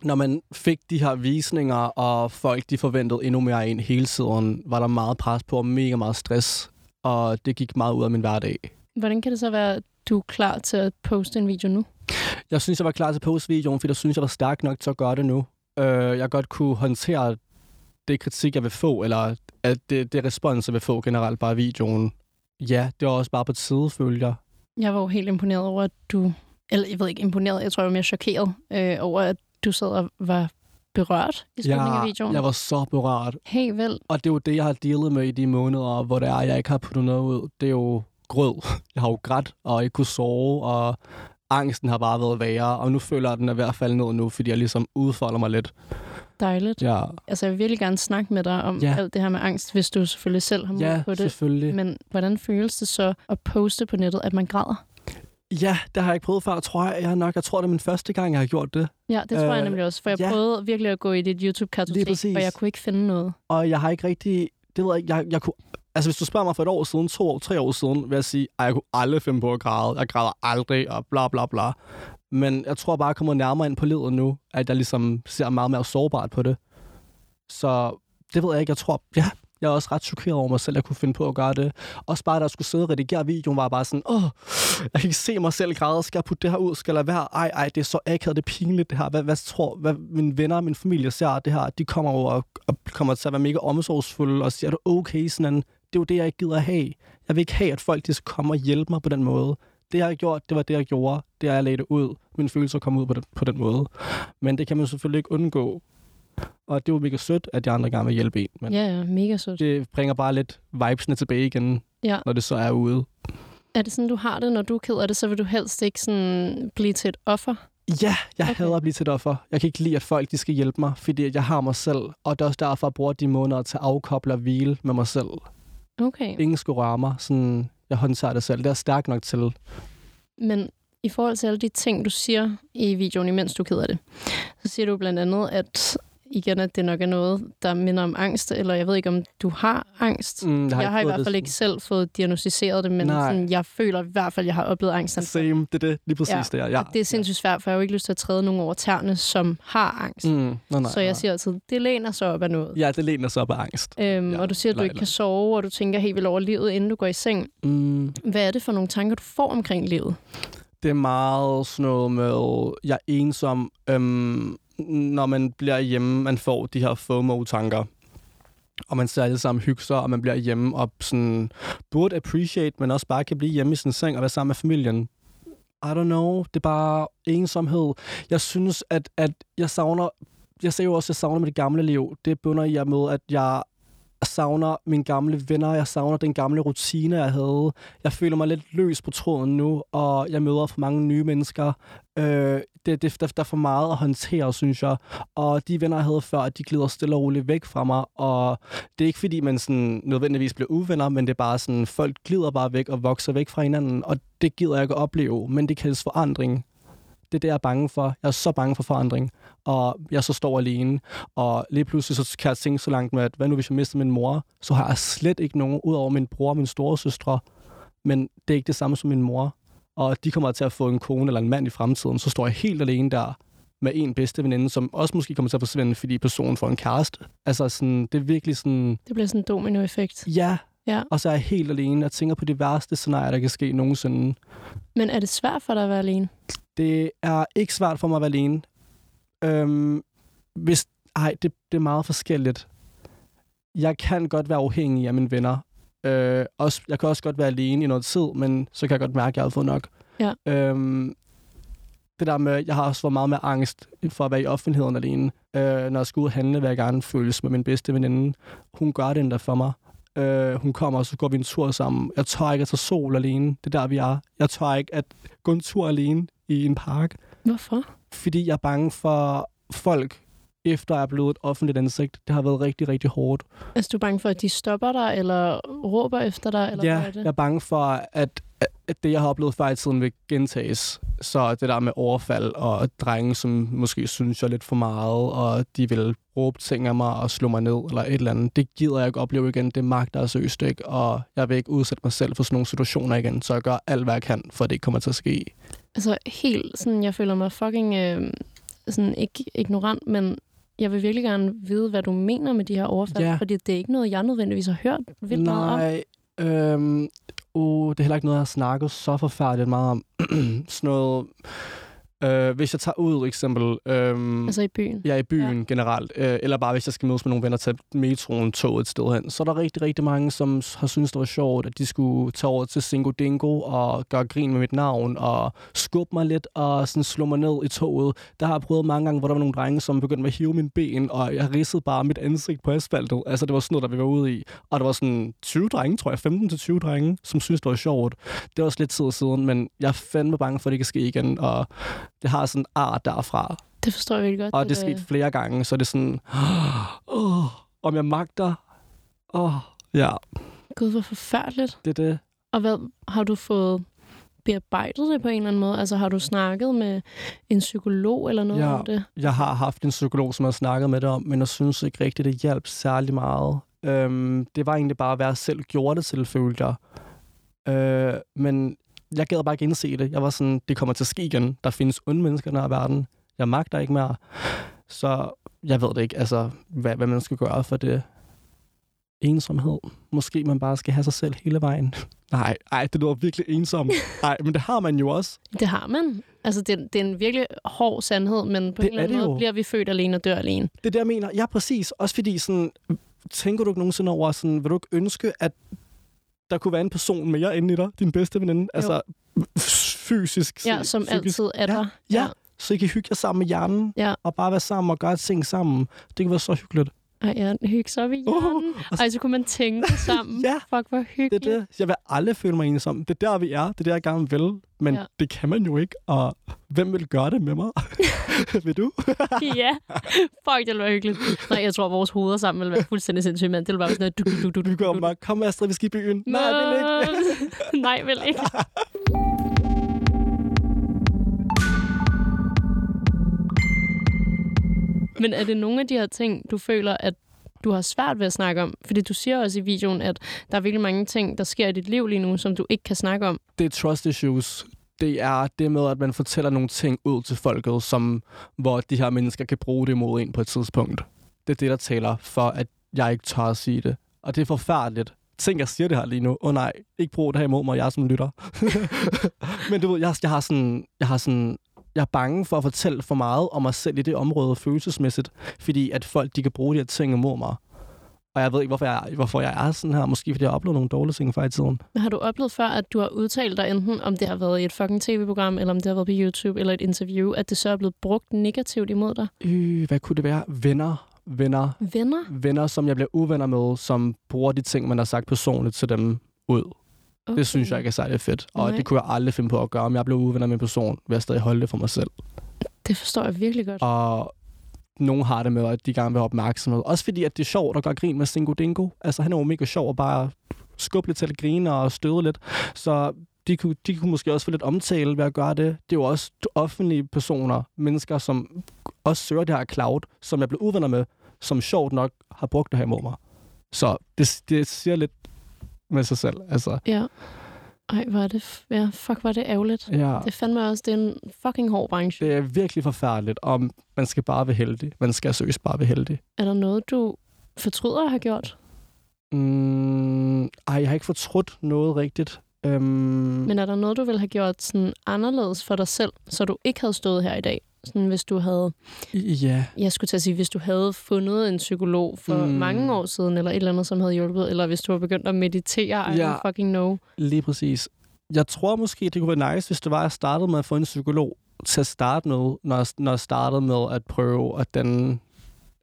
Speaker 2: Når man fik de her visninger, og folk de forventede endnu mere ind hele tiden, var der meget pres på og mega meget stress. Og det gik meget ud af min hverdag.
Speaker 10: Hvordan kan det så være, at du er klar til at poste en video nu?
Speaker 2: Jeg synes, jeg var klar til postvideoen, fordi jeg synes, jeg var stærk nok til at gøre det nu. Øh, jeg godt kunne håndtere det kritik, jeg vil få, eller at det, det respons, jeg vil få generelt bare af videoen. Ja, det var også bare på tide, følger.
Speaker 10: Jeg var jo helt imponeret over, at du... Eller jeg ved ikke imponeret, jeg tror, jeg var mere chokeret øh, over, at du sad og var berørt i slutningen af
Speaker 2: Jeg,
Speaker 10: videoen.
Speaker 2: jeg var så berørt.
Speaker 10: Hey, vel.
Speaker 2: Og det er jo det, jeg har dealet med i de måneder, hvor det er, jeg ikke har puttet noget ud. Det er jo grød. Jeg har jo grædt og ikke kunne sove, og angsten har bare været værre. Og nu føler jeg, at den er ved at falde ned nu, fordi jeg ligesom udfolder mig lidt.
Speaker 10: Dejligt. Ja.
Speaker 2: Ja,
Speaker 10: Altså, jeg vil virkelig gerne snakke med dig om ja.
Speaker 2: Ja.
Speaker 10: alt det her med angst, hvis du selvfølgelig selv har mod
Speaker 2: ja
Speaker 10: på det.
Speaker 2: selvfølgelig.
Speaker 10: Men hvordan føles det så at poste på nettet, at man græder?
Speaker 2: Ja, det har jeg ikke prøvet før, tror jeg. jeg nok. Jeg tror, det er min første gang, jeg har gjort det.
Speaker 10: Ja, det tror øh, jeg
Speaker 2: Øh,
Speaker 10: nemlig også, for jeg ja.
Speaker 2: ja.
Speaker 10: prøvede virkelig at gå i dit
Speaker 2: Lige
Speaker 10: YouTube-kartotek,
Speaker 2: præcis.
Speaker 10: og jeg kunne ikke finde noget.
Speaker 2: Og jeg har ikke rigtig... Det ved jeg ikke. Jeg, jeg kunne, altså, hvis du spørger mig for et år siden, to år, tre år siden, vil jeg sige, at jeg kunne aldrig finde på at græde. Jeg græder aldrig, og bla bla bla. Men jeg tror bare, jeg kommer nærmere ind på livet nu, at jeg ligesom ser meget mere sårbart på det. Så det ved jeg ikke. Jeg tror, ja, jeg er også ret chokeret over mig selv, at jeg kunne finde på at gøre det. Også bare, da jeg skulle sidde og redigere videoen, var jeg bare sådan, åh, jeg kan ikke se mig selv græde. Skal jeg putte det her ud? Skal jeg lade være? Ej, ej, det er så akavet, det er pinligt, det her. Hvad, hvad tror, hvad mine venner og min familie ser det her? De kommer over og, og kommer til at være mega omsorgsfulde og siger, er du okay? Sådan en, det er jo det, jeg ikke gider have. Jeg vil ikke have, at folk de skal komme og hjælpe mig på den måde. Det, jeg har gjort, det var det, jeg gjorde. Det er, jeg lagde det ud. Mine følelser kom ud på den, på den måde. Men det kan man selvfølgelig ikke undgå. Og det var mega sødt, at de andre gerne vil hjælpe en. Men
Speaker 10: Ja, ja, mega sødt.
Speaker 2: det bringer bare lidt vibesene tilbage igen,
Speaker 10: Ja.
Speaker 2: når det så er ude.
Speaker 10: Er det sådan, du har det, når du er ked af det, så vil du helst ikke sådan blive til et offer?
Speaker 2: Ja, jeg
Speaker 10: Okay.
Speaker 2: okay. hader at blive til et offer. Jeg kan ikke lide, at folk de skal hjælpe mig, fordi jeg har mig selv. Og det er også derfor, jeg bruger de måneder til at afkoble og hvile med mig selv.
Speaker 10: Okay.
Speaker 2: Ingen skulle røre mig. Sådan, jeg håndterer det selv. Det er jeg stærk nok til.
Speaker 10: Men i forhold til alle de ting, du siger i videoen, imens du keder det, så siger du blandt andet, at igen, at det nok er noget, der minder om angst, eller jeg ved ikke, om du har angst.
Speaker 2: Mm,
Speaker 10: Jeg har, jeg har i
Speaker 2: fået
Speaker 10: hvert
Speaker 2: det
Speaker 10: fald ikke selv fået diagnostiseret det, men
Speaker 2: Nej.
Speaker 10: sådan, jeg føler i hvert fald, at jeg har oplevet angst.
Speaker 2: Same, det er det. Lige præcis
Speaker 10: Ja,
Speaker 2: ja. det er. Ja.
Speaker 10: Og det er sindssygt svært, for jeg har jo ikke lyst til at træde nogen over tæerne, som har angst.
Speaker 2: Ja. Mm, nej, nej,
Speaker 10: så jeg
Speaker 2: nej.
Speaker 10: siger altid, det læner sig op af noget.
Speaker 2: Ja, det læner sig op af angst.
Speaker 10: Øhm,
Speaker 2: Ja,
Speaker 10: og du siger, at du
Speaker 2: eller-
Speaker 10: ikke kan sove, og du tænker helt vildt over livet, inden du går i seng.
Speaker 2: Mm.
Speaker 10: Hvad er det for nogle tanker, du får omkring livet?
Speaker 2: Det er meget sådan noget med, jeg er ensom, øhm, når man bliver hjemme, man får de her FOMO-tanker. og man ser alle sammen hygge sig, og man bliver hjemme og sådan, burde appreciate, men også bare kan blive hjemme i sin seng og være sammen med familien. I don't know, det er bare ensomhed. Jeg synes, at, at jeg savner, jeg ser jo også, at jeg savner mit gamle liv. Det bunder jeg med, at jeg savner mine gamle venner, jeg savner den gamle rutine, jeg havde. Jeg føler mig lidt løs på tråden nu, og jeg møder for mange nye mennesker. Øh, det, det, der, der er for meget at håndtere, synes jeg. Og de venner, jeg havde før, de glider stille og roligt væk fra mig, og det er ikke fordi, man sådan nødvendigvis bliver uvenner, men det er bare sådan, folk glider bare væk og vokser væk fra hinanden, og det gider jeg ikke at opleve, men det kaldes forandring. Det er det, jeg er bange for. Jeg er så bange for forandring, og jeg så står alene, og lige pludselig så kan jeg tænke så langt med, at hvad nu hvis jeg mister min mor, så har jeg slet ikke nogen, udover min bror og min store søstre, men det er ikke det samme som min mor, og de kommer til at få en kone eller en mand i fremtiden, så står jeg helt alene der, med en bedste veninde, som også måske kommer til at forsvinde, fordi personen får en kæreste. Altså sådan, det er virkelig sådan,
Speaker 10: Det bliver sådan en dominoeffekt.
Speaker 2: ja,
Speaker 10: Ja.
Speaker 2: og så er jeg helt alene og tænker på det værste scenarie, der kan ske nogensinde.
Speaker 10: Men er det svært for dig at være alene?
Speaker 2: Det er ikke svært for mig at være alene. Øhm, hvis, ej, det, det er meget forskelligt. Jeg kan godt være afhængig af mine venner. Øh, også, jeg kan også godt være alene i noget tid, men så kan jeg godt mærke, at jeg har fået nok.
Speaker 10: Ja.
Speaker 2: Øhm, det der med, jeg har også fået meget mere angst for at være i offentligheden alene. Øh, når jeg skal ud og handle, vil jeg gerne føles med min bedste veninde. Hun gør det endda for mig. Øh, hun kommer, og så går vi en tur sammen. Jeg tør ikke at tage sol alene. Det er der, vi er. Jeg tør ikke at gå en tur alene i en park
Speaker 10: Hvorfor?
Speaker 2: fordi jeg er bange for folk, efter jeg er blevet et offentligt ansigt. Det har været rigtig, rigtig hårdt.
Speaker 10: Altså, du er bange for, at de stopper dig, eller råber efter dig, eller
Speaker 2: ja,
Speaker 10: hvad er det?
Speaker 2: jeg er bange for, at, at det, jeg har oplevet før i tiden, vil gentages. Så det der med overfald og drenge, som måske synes, jeg er lidt for meget, og de vil råbe ting af mig og slå mig ned, eller et eller andet. Det gider jeg ikke opleve igen. Det magter jeg seriøst ikke, og jeg vil ikke udsætte mig selv for sådan nogle situationer igen. Så jeg gør alt, hvad jeg kan, for at det ikke kommer til at ske.
Speaker 10: Altså helt sådan, jeg føler mig fucking øh, sådan ikke ignorant, men jeg vil virkelig gerne vide, hvad du mener med de her overfald,
Speaker 2: Ja.
Speaker 10: fordi det er ikke noget, jeg nødvendigvis har hørt vildt meget om.
Speaker 2: Nej, øhm, uh, det er heller ikke noget, jeg har snakket så forfærdeligt meget om. Sådan noget, øh, hvis jeg tager ud, for eksempel, øhm,
Speaker 10: Altså i byen.
Speaker 2: jeg er i byen ja. generelt, øh, eller bare hvis jeg skal mødes med nogle venner, tage metroen, toget et sted hen, så er der rigtig, rigtig mange, som s- har syntes, det var sjovt, at de skulle tage over til Singo Dingo og gøre grin med mit navn, og skubbe mig lidt og sådan slå mig ned i toget. Der har jeg prøvet mange gange, hvor der var nogle drenge, som begyndte at hive min ben, og jeg ridsede bare mit ansigt på asfaltet. Altså, det var sådan noget, der vi var ude i. Og der var sådan 20 drenge, tror jeg, 15-20 drenge, som syntes, det var sjovt. Det var også lidt tid siden, men jeg er fandme bange for, at det kan ske igen, og det har sådan en art derfra.
Speaker 10: Det forstår jeg virkelig godt.
Speaker 2: Og det er
Speaker 10: der-
Speaker 2: sket flere gange, så er det sådan, åh, om jeg magter, åh, ja,
Speaker 10: Gud, hvor forfærdeligt.
Speaker 2: det er det.
Speaker 10: Og hvad har du fået bearbejdet det på en eller anden måde? Altså har du snakket med en psykolog eller noget
Speaker 2: Ja.
Speaker 10: om det?
Speaker 2: Jeg har haft en psykolog, som jeg har snakket med det om, men jeg synes ikke rigtigt, det hjalp særlig meget. Øhm, det var egentlig bare, hvad jeg selv gjorde det til, følte jeg. Øh, men jeg gad bare ikke indse det. Jeg var sådan, det kommer til at ske igen. Der findes onde mennesker i den her verden. Jeg magter ikke mere. Så jeg ved det ikke, altså, hvad, hvad man skal gøre for det. Ensomhed. Måske man bare skal have sig selv hele vejen. Nej, ej, det lyder virkelig ensomt. Nej, men det har man jo også.
Speaker 10: Det har man. Altså det, det er en virkelig hård sandhed, men på
Speaker 2: Det
Speaker 10: en eller
Speaker 2: er
Speaker 10: anden
Speaker 2: det
Speaker 10: måde
Speaker 2: jo.
Speaker 10: bliver vi født alene og dør alene.
Speaker 2: Det er det, jeg mener. Ja, præcis. Også fordi sådan, tænker du ikke nogensinde over, sådan, vil du ikke ønske, at der kunne være en person mere inde i dig, din bedste veninde? Jo. Altså fysisk,
Speaker 10: Ja, som
Speaker 2: psykisk.
Speaker 10: altid er
Speaker 2: Ja,
Speaker 10: der.
Speaker 2: ja. Så I kan hygge jer sammen med hjernen,
Speaker 10: Ja.
Speaker 2: og bare være sammen og gøre ting sammen. Det kan være så hyggeligt.
Speaker 10: Ej, ja, hygge sig op i
Speaker 2: Uh,
Speaker 10: hjernen. Uh, Ej, så kunne man tænke det sammen.
Speaker 2: Ja,
Speaker 10: Fuck, hvor hyggeligt.
Speaker 2: Det er det. Jeg vil aldrig føle mig ensom. Det er der, vi er. Det er der, jeg gerne vil. Men
Speaker 10: Ja.
Speaker 2: ja. det kan man jo ikke, og hvem vil gøre det med mig? vil du?
Speaker 10: ja. Fuck, det ville være hyggeligt. Nej, jeg tror, vores hoveder sammen ville være fuldstændig sindssyge, mand. Det ville bare være sådan noget... Du, du, du, du,
Speaker 2: Vi går bare, kom Astrid, vi skal i byen. Nej, jeg vil ikke.
Speaker 10: ikke. Nej, vel ikke. Men er det nogle af de her ting, du føler, at du har svært ved at snakke om? Fordi du siger også i videoen, at der er virkelig mange ting, der sker i dit liv lige nu, som du ikke kan snakke om.
Speaker 2: det er trust issues. Det er det med, at man fortæller nogle ting ud til folket, som, hvor de her mennesker kan bruge det imod en på et tidspunkt. Det er det, der taler for, at jeg ikke tør at sige det. Og det er forfærdeligt. Tænk, jeg siger det her lige nu. Åh oh, nej, ikke brug det her imod mig, jeg er som lytter. Men du ved, jeg, jeg har sådan... Jeg har sådan jeg er bange for at fortælle for meget om mig selv i det område følelsesmæssigt, fordi at folk de kan bruge de her ting imod mig. Og jeg ved ikke, hvorfor jeg, hvorfor jeg er sådan her. Måske fordi jeg har oplevet nogle dårlige ting før i tiden.
Speaker 10: Har du oplevet før, at du har udtalt dig enten, om det har været i et fucking tv-program, eller om det har været på YouTube, eller et interview, at det så er blevet brugt negativt imod dig?
Speaker 2: Øh, hvad kunne det være? Venner, venner,
Speaker 10: Venner?
Speaker 2: venner, som jeg bliver uvenner med, som bruger de ting, man har sagt personligt til dem ud. Okay.
Speaker 10: Okay.
Speaker 2: Det synes jeg ikke er særlig fedt. Og
Speaker 10: Nej.
Speaker 2: det kunne jeg aldrig finde på at gøre. Om jeg blev uvenner med en person, vil jeg stadig holde det for mig selv.
Speaker 10: Det forstår jeg virkelig godt.
Speaker 2: Og nogen har det med, at de gerne vil have opmærksomhed. Også fordi, at det er sjovt at gøre grin med Singo Dingo. Altså, han er jo mega sjov og bare skubbe lidt til at grine og støde lidt. Så de kunne, de kunne måske også få lidt omtale ved at gøre det. Det er jo også offentlige personer, mennesker, som også søger det her cloud, som jeg blev uvenner med, som sjovt nok har brugt det her imod mig. Så det, det siger lidt med sig selv. Altså,
Speaker 10: Ja. Ej, hvor er det... f- Ja, fuck, var det ærgerligt.
Speaker 2: ja.
Speaker 10: Det fandme også, det er en fucking hård branche.
Speaker 2: Det er virkelig forfærdeligt, og man skal bare være heldig. Man skal søges bare være heldig.
Speaker 10: Er der noget, du fortryder at have gjort?
Speaker 2: Mm, ej, jeg har ikke fortrudt noget rigtigt. Øhm, Men...
Speaker 10: Men er der noget, du ville have gjort sådan anderledes for dig selv, så du ikke havde stået her i dag? Sådan, hvis du havde,
Speaker 2: Ja,
Speaker 10: jeg skulle til at sige, hvis du havde fundet en psykolog for
Speaker 2: Mm.
Speaker 10: mm. mange år siden, eller et eller andet, som havde hjulpet, eller hvis du var begyndt at meditere, I
Speaker 2: Ja.
Speaker 10: don't fucking know.
Speaker 2: lige præcis. Jeg tror måske, det kunne være nice, hvis det var, at jeg startede med at få en psykolog til at starte med, når jeg, når jeg startede med at prøve at danne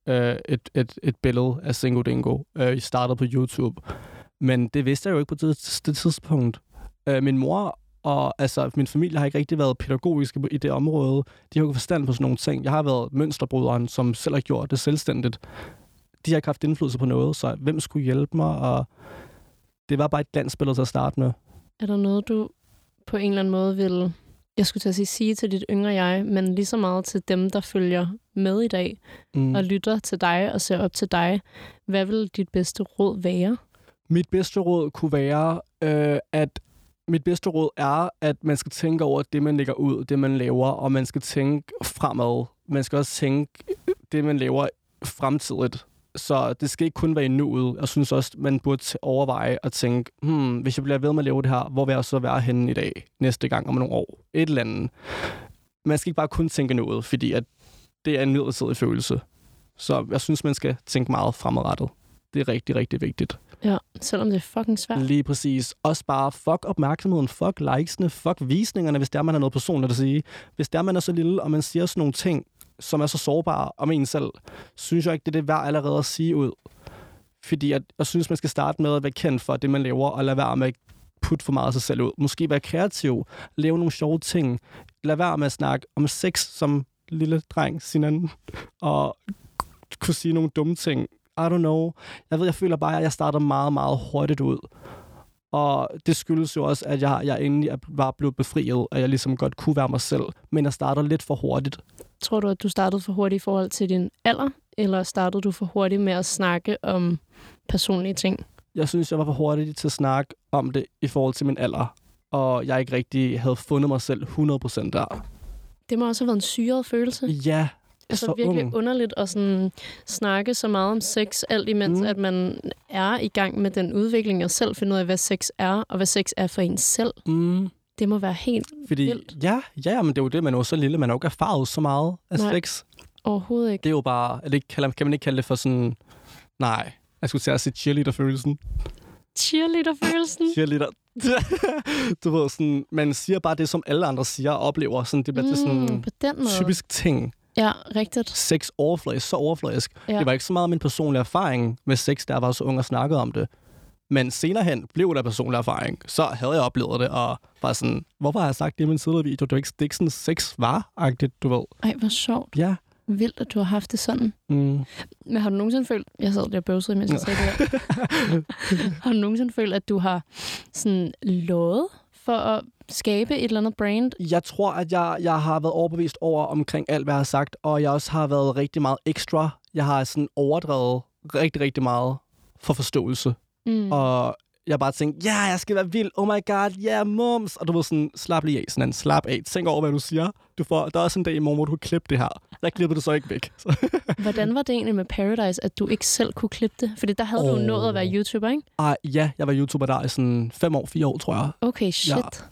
Speaker 2: øh, et, et, et billede af Singo Dingo. Øh, jeg startede på YouTube. Men det vidste jeg jo ikke på det, det tidspunkt. Øh, min mor og altså, min familie har ikke rigtig været pædagogiske på- i det område. De har jo ikke forstand på sådan nogle ting. Jeg har været mønsterbryderen, som selv har gjort det selvstændigt. De har ikke haft indflydelse på noget, så hvem skulle hjælpe mig? Og det var bare et glansbillede til at starte med.
Speaker 10: Er der noget, du på en eller anden måde vil, jeg skulle til at sige, sige til dit yngre jeg, men lige så meget til dem, der følger med i dag
Speaker 2: Mm.
Speaker 10: og lytter til dig og ser op til dig. Hvad vil dit bedste råd være?
Speaker 2: Mit bedste råd kunne være, øh, at mit bedste råd er, at man skal tænke over det, man lægger ud, det, man laver, og man skal tænke fremad. Man skal også tænke det, man laver fremtidigt. Så det skal ikke kun være i nuet. Jeg synes også, man burde t- overveje at tænke, hmm, hvis jeg bliver ved med at lave det her, hvor vil jeg så være henne i dag, næste gang om nogle år? Et eller andet. Man skal ikke bare kun tænke nuet, fordi at det er en midlertidig følelse. Så jeg synes, man skal tænke meget fremadrettet. Det er rigtig, rigtig vigtigt.
Speaker 10: Ja, selvom det er fucking svært.
Speaker 2: Lige præcis. Også bare fuck opmærksomheden, fuck likesene, fuck visningerne, hvis der man har noget personligt at sige. Hvis der man er så lille, og man siger sådan nogle ting, som er så sårbare om en selv, synes jeg ikke, det er det værd allerede at sige ud. Fordi jeg, jeg synes, man skal starte med at være kendt for det, man laver, og lade være med at putte for meget af sig selv ud. Måske være kreativ, lave nogle sjove ting. Lad være med at snakke om sex som lille dreng sin anden, og kunne sige nogle dumme ting. I don't know. Jeg ved, jeg føler bare, at jeg starter meget, meget hurtigt ud. Og det skyldes jo også, at jeg, jeg endelig er- var blevet befriet, og jeg ligesom godt kunne være mig selv. Men jeg starter lidt for hurtigt.
Speaker 10: Tror du, at du startede for hurtigt i forhold til din alder, eller startede du for hurtigt med at snakke om personlige ting?
Speaker 2: Jeg synes, jeg var for hurtig til at snakke om det i forhold til min alder. Og jeg ikke rigtig havde fundet mig selv 100% der.
Speaker 10: Mm. Det må også have været en syret følelse.
Speaker 2: Ja,
Speaker 10: Altså
Speaker 2: så
Speaker 10: virkelig
Speaker 2: ung.
Speaker 10: underligt at sådan snakke så meget om sex, alt imens
Speaker 2: Mm.
Speaker 10: mm. at man er i gang med den udvikling, og selv finde ud af, hvad sex er, og hvad sex er for en selv.
Speaker 2: Mm,
Speaker 10: Det må være helt
Speaker 2: fordi,
Speaker 10: Vildt.
Speaker 2: ja, ja, men det er jo det, man er jo så lille, man har jo ikke erfaret så meget af
Speaker 10: Nej.
Speaker 2: sex.
Speaker 10: overhovedet ikke.
Speaker 2: Det er jo bare, er det ikke, kalder- kan man ikke kalde det for sådan, nej, jeg skulle til at sige cheerleader-følelsen.
Speaker 10: Cheerleader-følelsen.
Speaker 2: cheerleader. du ved, sådan, man siger bare det, som alle andre siger og oplever. Sådan, det bliver mm, sådan
Speaker 10: Mm, på den måde.
Speaker 2: typisk ting.
Speaker 10: Ja, rigtigt.
Speaker 2: Sex overfladisk, så overfladisk. Ja.
Speaker 10: Ja.
Speaker 2: Det var ikke så meget min personlige erfaring med sex, der var jeg så ung og snakkede om det. Men senere hen blev der personlig erfaring. Så havde jeg oplevet det, og var sådan, hvorfor har jeg sagt det i min tidligere video? Det var ikke, det er ikke sådan sex var-agtigt, du ved.
Speaker 10: Ej, hvor sjovt.
Speaker 2: Ja.
Speaker 10: Vildt, at du har haft det sådan.
Speaker 2: Mm.
Speaker 10: Men har du nogensinde følt... Jeg sad lige og bøvsede, mens jeg sagde det der. Har du nogensinde følt, at du har sådan lovet for at skabe et eller andet brand?
Speaker 2: Jeg tror, at jeg, jeg har været overbevist over omkring alt, hvad jeg har sagt, og jeg også har været rigtig meget ekstra. Jeg har sådan overdrevet rigtig, rigtig meget for forståelse.
Speaker 10: Mm.
Speaker 2: Og jeg har bare tænkt, ja, jeg skal være vild, oh my god, ja, yeah, moms. Og du ved sådan, slap lige af, sådan en slap af. Tænk over, hvad du siger. Du får, der er også en dag i morgen, hvor du kan klippe det her. Der klipper du så ikke væk. Så.
Speaker 10: Hvordan var det egentlig med Paradise, at du ikke selv kunne klippe det? Fordi der havde oh. du
Speaker 2: Åh.
Speaker 10: jo nået at være YouTuber, ikke?
Speaker 2: Og ja, jeg var YouTuber der i sådan fem år, fire år, tror jeg.
Speaker 10: Okay, shit.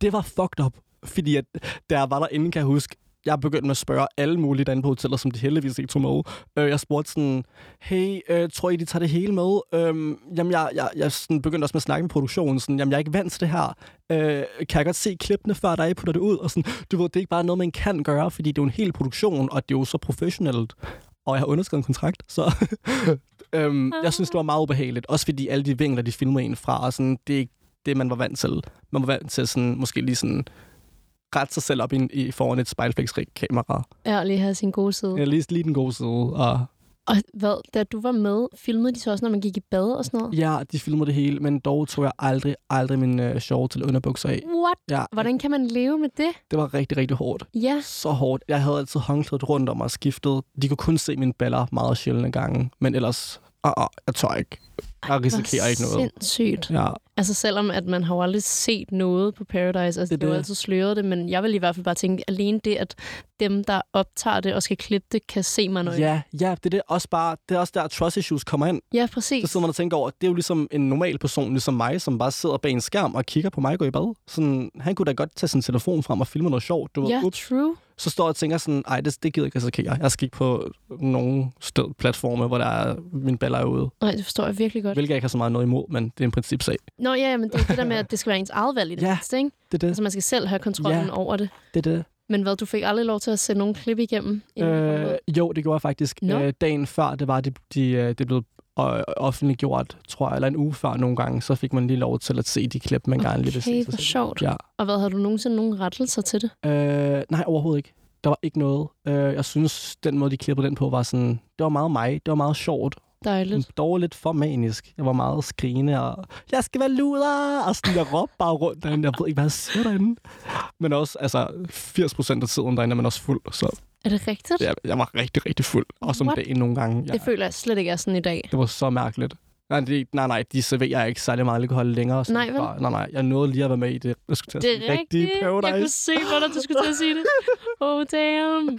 Speaker 2: det var fucked up. Fordi at, da jeg var derinde, kan jeg huske, jeg begyndte at spørge alle mulige derinde på hoteller, som de heldigvis ikke tog med. Øh, jeg spurgte sådan, hey, øh, tror I, de tager det hele med? Øh, jamen, jeg, jeg, jeg sådan begyndte også med at snakke med produktionen, sådan, jamen, jeg er ikke vant til det her. Øh, kan jeg godt se klippene, før der I putter det ud? Og sådan, du ved, det er ikke bare noget, man kan gøre, fordi det er jo en hel produktion, og det er jo så professionelt. Og jeg har underskrevet en kontrakt, så øhm, jeg synes, det var meget ubehageligt. Også fordi alle de vinkler, de filmer en fra, og sådan, det er ikke det, man var vant til. Man var vant til sådan, måske lige sådan rette sig selv op i, i foran et spejlflæksrigt kamera.
Speaker 10: Ja, og lige have sin gode side.
Speaker 2: Jeg læste lige den gode side, og
Speaker 10: Og hvad, da du var med, filmede de så også, når man gik i bad og sådan noget?
Speaker 2: ja, de filmede det hele, men dog tog jeg aldrig, aldrig min øh, shorts eller underbukser af.
Speaker 10: What?
Speaker 2: Ja,
Speaker 10: Hvordan kan man leve med det?
Speaker 2: det var rigtig, rigtig hårdt.
Speaker 10: Ja,
Speaker 2: Så hårdt. Jeg havde altid håndklædet rundt om og skiftet. De kunne kun se mine baller meget sjældne gange, men ellers, uh, uh, jeg tør ikke. Jeg risikerer ikke noget.
Speaker 10: Sindssygt.
Speaker 2: Ja,
Speaker 10: Altså selvom, at man har jo aldrig set noget på Paradise, altså
Speaker 2: Det er
Speaker 10: det, det var
Speaker 2: det.
Speaker 10: altid sløret det, men jeg vil i hvert fald bare tænke, alene det, at dem, der optager det og skal klippe det, kan se mig noget.
Speaker 2: ja, ja, det er det også bare, det er også der trust issues kommer ind.
Speaker 10: ja præcis.
Speaker 2: Så sidder man og tænker over, at det er jo ligesom en normal person, ligesom mig, som bare sidder bag en skærm og kigger på mig gå i bad. Sådan, han kunne da godt tage sin telefon frem og filme noget sjovt. Du ved,
Speaker 10: Ja,
Speaker 2: ups.
Speaker 10: true.
Speaker 2: så står jeg og tænker sådan, ej, det, det gider jeg ikke risikere. Jeg skal ikke på nogen sted, platforme, hvor der er, min baller er ude.
Speaker 10: Nej, det forstår jeg virkelig godt.
Speaker 2: Hvilket jeg ikke har så meget noget imod, men det er en principsag.
Speaker 10: Nå ja, ja, men det er det der med, at det skal være ens eget valg i det
Speaker 2: Ja.
Speaker 10: mindste, ikke?
Speaker 2: Det er det.
Speaker 10: Altså man skal selv have kontrollen
Speaker 2: Ja.
Speaker 10: over det.
Speaker 2: det, er det.
Speaker 10: Men hvad, du fik aldrig lov til at sende nogle klip igennem? inden du kom ud?
Speaker 2: Øh, jo, det gjorde jeg faktisk.
Speaker 10: Nå.
Speaker 2: Øh, dagen før, det var det, de, øh, det blev øh, offentliggjort, tror jeg, eller en uge før nogle gange, så fik man lige lov til at se de klip, man gerne lige vil se.
Speaker 10: Okay,
Speaker 2: sig
Speaker 10: hvor
Speaker 2: selv.
Speaker 10: sjovt.
Speaker 2: Ja.
Speaker 10: Og hvad, havde du nogensinde nogen rettelser til det?
Speaker 2: Øh, nej, overhovedet ikke. Der var ikke noget. Øh, jeg synes, den måde, de klippede den på, var sådan... Det var meget mig. Det var meget sjovt.
Speaker 10: Dejligt.
Speaker 2: Dog lidt for manisk. Jeg var meget skrigende og... Jeg skal være luder! Og sådan, jeg råbte bare rundt derinde. Jeg ved ikke, hvad jeg siger derinde. Men også, altså, 80 procent af tiden derinde er man også fuld. Så
Speaker 10: Er det rigtigt?
Speaker 2: jeg, jeg var rigtig, rigtig fuld. Også om
Speaker 10: What?
Speaker 2: dagen nogle gange. Jeg,
Speaker 10: Det føler jeg slet ikke er sådan i dag.
Speaker 2: det var så mærkeligt. Nej, de, nej, nej, de serverer ikke særlig meget alkohol længere. så
Speaker 10: Nej, vel?
Speaker 2: bare- nej, nej, jeg nåede lige at være med i det. Jeg skulle til at
Speaker 10: Det
Speaker 2: sige,
Speaker 10: er rigtigt. Jeg kunne
Speaker 2: Paradise.
Speaker 10: se, hvordan du skulle til at sige det. Oh, damn.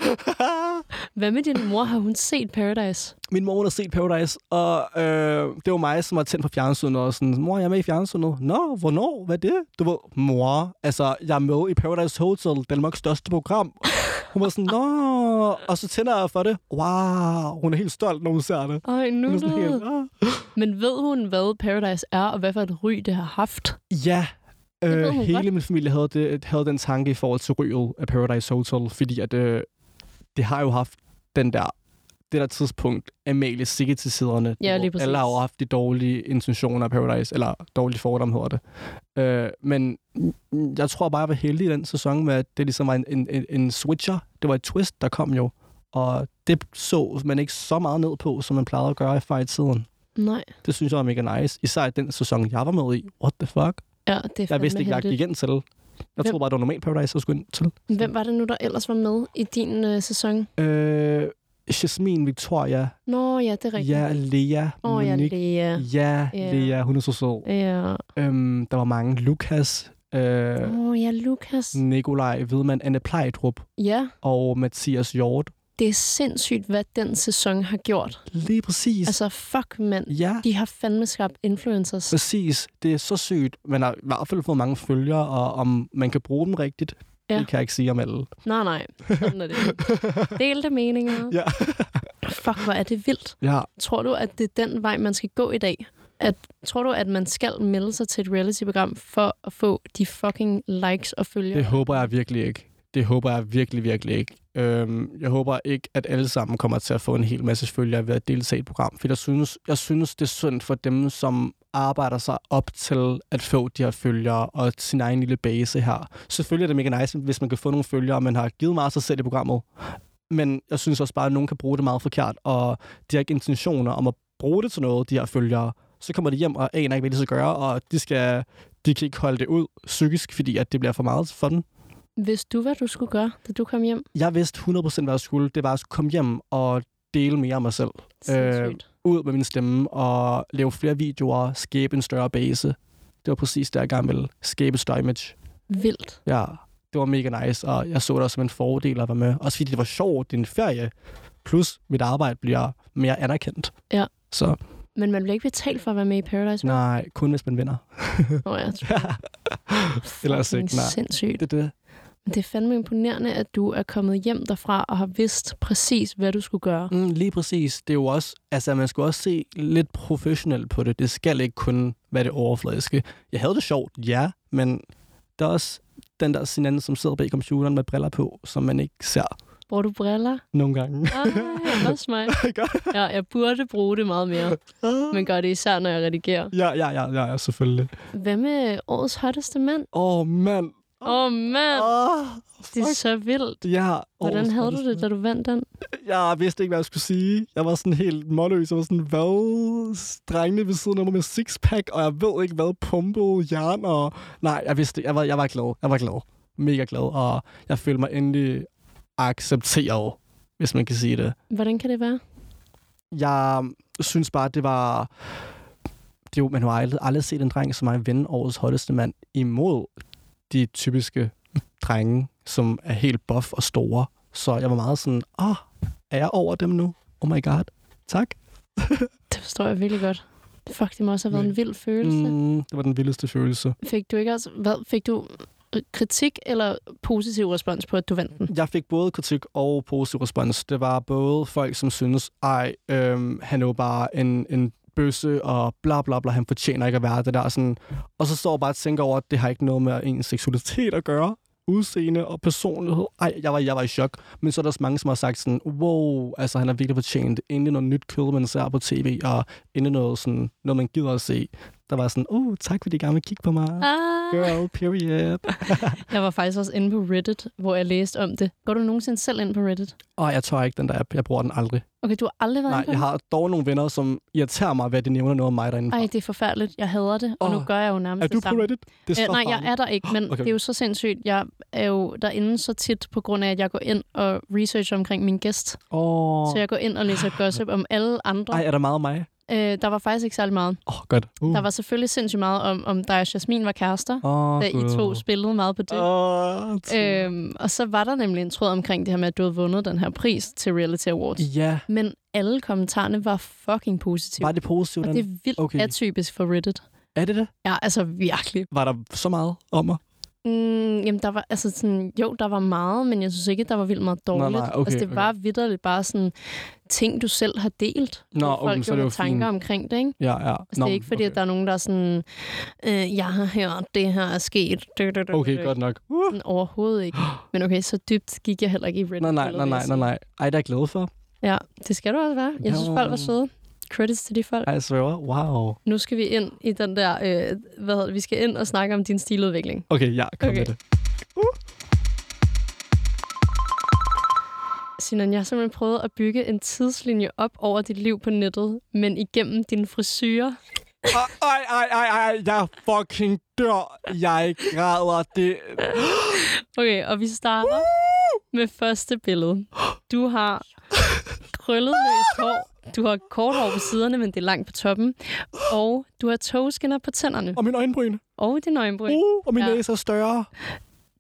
Speaker 10: Hvad med din mor? Har hun set Paradise?
Speaker 2: min mor hun har set Paradise, og øh, det var mig, som var tændt på fjernsynet, og sådan, mor, jeg er med i fjernsynet. Nå, hvornår? Hvad er det? Du ved, mor, altså, jeg er med i Paradise Hotel, Danmarks største program. Hun var sådan, nå, og så tænder jeg for det. Wow, hun er helt stolt, når hun ser det.
Speaker 10: Ej,
Speaker 2: Hun
Speaker 10: nu
Speaker 2: er sådan helt, ah.
Speaker 10: Men ved hun, hvad Paradise er, og hvad for et ry det har haft?
Speaker 2: Ja,
Speaker 10: ved
Speaker 2: øh,
Speaker 10: hun
Speaker 2: hele
Speaker 10: godt.
Speaker 2: min familie havde, det, havde den tanke i forhold til ryget af Paradise Hotel, fordi at, øh, det har jo haft den der det der tidspunkt, Amalie sikkert til siderne.
Speaker 10: Ja, lige præcis.
Speaker 2: Alle har jo haft de dårlige intentioner af Paradise, eller dårlige fordomme hedder det. Øh, men mm, jeg tror bare, jeg var heldig i den sæson med, at det ligesom var en, en, en, en switcher. Det var et twist, der kom jo. Og det så man ikke så meget ned på, som man plejede at gøre før i tiden.
Speaker 10: Nej.
Speaker 2: Det synes jeg var mega nice. Især i den sæson, jeg var med i. What the fuck?
Speaker 10: Ja, det er
Speaker 2: Jeg vidste
Speaker 10: fandme
Speaker 2: ikke, hvad jeg gik
Speaker 10: heldigt.
Speaker 2: igen til. Jeg
Speaker 10: Hvem-
Speaker 2: troede bare, det var normalt Paradise, jeg skulle ind til.
Speaker 10: Hvem var det nu, der ellers var med i din øh, sæson?
Speaker 2: Øh, Jasmine, Victoria,
Speaker 10: Nå ja, det er rigtigt.
Speaker 2: ja, Lea,
Speaker 10: Åh, oh, ja,
Speaker 2: Monique.
Speaker 10: Lea.
Speaker 2: Ja,
Speaker 10: Ja.
Speaker 2: Lea, hun er så sød.
Speaker 10: Ja.
Speaker 2: Øhm, der var mange. Lukas, øh,
Speaker 10: Åh oh, ja, Lukas.
Speaker 2: Mm. Nikolaj Vedman, Anne Plejdrup
Speaker 10: Ja,
Speaker 2: og Mathias Hjort.
Speaker 10: det er sindssygt, hvad den sæson har gjort.
Speaker 2: Lige præcis.
Speaker 10: Altså, fuck mand.
Speaker 2: ja,
Speaker 10: De har fandme skabt influencers.
Speaker 2: præcis. Det er så sygt. Man har i hvert fald fået mange følgere, og om man kan bruge dem rigtigt,
Speaker 10: Ja.
Speaker 2: det kan jeg ikke sige om alle.
Speaker 10: Nej, nej. Sådan er det. Delte meninger.
Speaker 2: Ja.
Speaker 10: Fuck, hvor er det vildt.
Speaker 2: Ja,
Speaker 10: Tror du, at det er den vej, man skal gå i dag? At, tror du, at man skal melde sig til et reality-program for at få de fucking likes og følgere?
Speaker 2: Det håber jeg virkelig ikke. Det håber jeg virkelig, virkelig ikke. Øhm, jeg håber ikke, at alle sammen kommer til at få en hel masse følgere ved at deltage i et program. For jeg synes, jeg synes, det er synd for dem, som arbejder sig op til at få de her følgere og sin egen lille base her. Selvfølgelig er det mega nice, hvis man kan få nogle følgere, og man har givet meget af sig selv i programmet. Men jeg synes også bare, at nogen kan bruge det meget forkert, og de har ikke intentioner om at bruge det til noget, de her følgere. Så kommer de hjem og aner ikke, hvad de skal gøre, og de skal de kan ikke holde det ud psykisk, fordi at det bliver for meget for dem.
Speaker 10: Vidste du, hvad du skulle gøre, da du kom hjem?
Speaker 2: Jeg vidste 100% hvad jeg skulle. Det var, at jeg skulle komme hjem og dele mere af mig selv.
Speaker 10: Sindssygt.
Speaker 2: Ud med min stemme og lave flere videoer, skabe en større base. Det var præcis det, jeg gerne ville. Skabe et større image.
Speaker 10: Øh, Vildt.
Speaker 2: Ja, det var mega nice, og jeg så det også som en fordel at være med. Også fordi det var sjovt, det er en ferie. Plus, mit arbejde bliver mere anerkendt.
Speaker 10: Ja.
Speaker 2: Så
Speaker 10: Men man bliver ikke betalt for at være med i Paradise.
Speaker 2: nej, kun hvis man vinder.
Speaker 10: Nå, jeg tror,
Speaker 2: Ellers ikke, nej.
Speaker 10: sindssygt.
Speaker 2: Det er det.
Speaker 10: Det er fandme imponerende, at du er kommet hjem derfra og har vidst præcis, hvad du skulle gøre.
Speaker 2: Mm, lige præcis. Det er jo også, altså man skal også se lidt professionelt på det. Det skal ikke kun være det overfladiske. Jeg havde det sjovt, ja, men der er også den der sin anden, som sidder bag computeren med briller på, som man ikke ser
Speaker 10: Bruger du briller?
Speaker 2: nogle gange.
Speaker 10: Ej, også mig.
Speaker 2: Gør-
Speaker 10: Ja, jeg burde bruge det meget mere, men gør det især, når jeg redigerer.
Speaker 2: ja, ja, ja, ja, ja, selvfølgelig.
Speaker 10: Hvad med årets hotteste mand?
Speaker 2: Åh, oh, mand.
Speaker 10: Åh, oh, mand!
Speaker 2: Oh,
Speaker 10: Det er så vildt.
Speaker 2: Ja,
Speaker 10: Hvordan
Speaker 2: årets
Speaker 10: havde du det,
Speaker 2: hotteste
Speaker 10: da du vandt den?
Speaker 2: jeg vidste ikke, hvad jeg skulle sige. Jeg var sådan helt målløs. Jeg var sådan, hvad? Drengene ved siden af mig med sixpack, og jeg ved ikke, hvad pumpet jern og... Nej, jeg vidste ikke. Jeg var, jeg var glad. Jeg var glad. Mega glad. Og jeg følte mig endelig accepteret, hvis man kan sige det.
Speaker 10: Hvordan kan det være?
Speaker 2: Jeg synes bare, det var... Det er jo, man har aldrig, aldrig set en dreng som mig vinde årets hotteste mand imod de typiske drenge, som er helt buff og store. Så jeg var meget sådan, åh, oh, er jeg over dem nu? Oh my god. Tak.
Speaker 10: Det forstår jeg virkelig godt. Fuck, det må også have været en vild følelse.
Speaker 2: Mm, det var den vildeste følelse.
Speaker 10: Fik du ikke også, hvad, fik du øh, kritik eller positiv respons på, at du vandt den?
Speaker 2: Jeg fik både kritik og positiv respons. Det var både folk, som synes, ej, øhm, han er jo bare en, en bøsse, og bla bla bla, han fortjener ikke at være det der. Sådan. Og så står jeg bare og tænker over, at det har ikke noget med ens seksualitet at gøre udseende og personlighed. Ej, jeg var, jeg var i chok. Men så er der også mange, som har sagt sådan, wow, altså han har virkelig fortjent endelig noget nyt kød, man ser på tv, og endelig noget, sådan, noget man gider at se. Der var sådan, oh, tak fordi I gerne vil kigge på mig.
Speaker 10: Ah,
Speaker 2: Girl, period.
Speaker 10: jeg var faktisk også inde på Reddit, hvor jeg læste om det. Går du nogensinde selv ind på Reddit?
Speaker 2: Og jeg tør ikke den der app. Jeg bruger den aldrig.
Speaker 10: Okay, du har aldrig været
Speaker 2: Nej,
Speaker 10: inde på
Speaker 2: jeg
Speaker 10: den?
Speaker 2: har dog nogle venner, som irriterer mig ved, at de nævner noget om mig derinde.
Speaker 10: Ej, det er forfærdeligt. Jeg hader det, og oh, nu
Speaker 2: Åh,
Speaker 10: gør jeg jo nærmest
Speaker 2: er du
Speaker 10: det
Speaker 2: på
Speaker 10: samme.
Speaker 2: Reddit? Det
Speaker 10: Øh, nej, jeg er der ikke, men okay.
Speaker 2: Okay.
Speaker 10: det er jo så sindssygt. Jeg er jo derinde så tit, på grund af, at jeg går ind og researcher omkring min gæst.
Speaker 2: Oh.
Speaker 10: Så jeg går ind og læser gossip om alle andre.
Speaker 2: Ej, er der meget om mig?
Speaker 10: Øh, der var faktisk ikke særlig meget.
Speaker 2: Åh, oh, godt. Uh.
Speaker 10: Der var selvfølgelig sindssygt meget om, om dig og Jasmin var kærester,
Speaker 2: oh,
Speaker 10: da I to spillede meget på det.
Speaker 2: Oh,
Speaker 10: Øhm, og så var der nemlig en tråd omkring det her med, at du havde vundet den her pris til Reality Awards.
Speaker 2: Ja,
Speaker 10: Men alle kommentarerne var fucking positive.
Speaker 2: var det positivt?
Speaker 10: Og det er vildt
Speaker 2: Okay.
Speaker 10: okay. atypisk for Reddit.
Speaker 2: Er det det?
Speaker 10: Ja, altså virkelig.
Speaker 2: Var der så meget om mig?
Speaker 10: Mm, jamen, der var, altså sådan, jo, der var meget, men jeg synes ikke, at der var vildt meget dårligt.
Speaker 2: nej, okay,
Speaker 10: altså, det
Speaker 2: okay.
Speaker 10: var vidderligt bare sådan ting, du selv har delt.
Speaker 2: Nå,
Speaker 10: hvor
Speaker 2: okay,
Speaker 10: folk
Speaker 2: så er det
Speaker 10: jo
Speaker 2: jo
Speaker 10: tanker
Speaker 2: fint.
Speaker 10: omkring det, ikke?
Speaker 2: Ja, ja.
Speaker 10: Altså, det er ikke fordi, okay. at der er nogen, der er sådan, øh, jeg har hørt, det her er sket. Dø, dø, dø,
Speaker 2: Okay,
Speaker 10: dø, dø.
Speaker 2: godt nok. Uh.
Speaker 10: Sådan, overhovedet ikke. Men okay, så dybt gik jeg heller ikke i Reddit.
Speaker 2: Nej, nej, nej,
Speaker 10: eller
Speaker 2: nej,
Speaker 10: hvad jeg
Speaker 2: nej, nej. Ej, der er jeg glad for.
Speaker 10: siger. Ja, det skal du også være. Jeg synes,
Speaker 2: Jo.
Speaker 10: folk var søde. Credits til de folk.
Speaker 2: Ej, jeg svæver. Wow.
Speaker 10: Nu skal vi ind i den der, øh, hvad hedder det, vi skal ind og snakke om din stiludvikling.
Speaker 2: Okay, ja, kom
Speaker 10: Okay.
Speaker 2: med det.
Speaker 10: Sinan, jeg har simpelthen prøvet at bygge en tidslinje op over dit liv på nettet, men igennem dine frisyrer.
Speaker 2: Ej, ej, ej, ej, ej, jeg fucking dør. Jeg græder. Det,
Speaker 10: Okay, og vi starter med første billede. Du har krøllet løs hår. Du har kort hår på siderne, men det er langt på toppen. Og du har togskinner på tænderne.
Speaker 2: og min øjenbryn.
Speaker 10: Og din øjenbryn.
Speaker 2: Uh, og min
Speaker 10: Ja.
Speaker 2: ja. næse er større.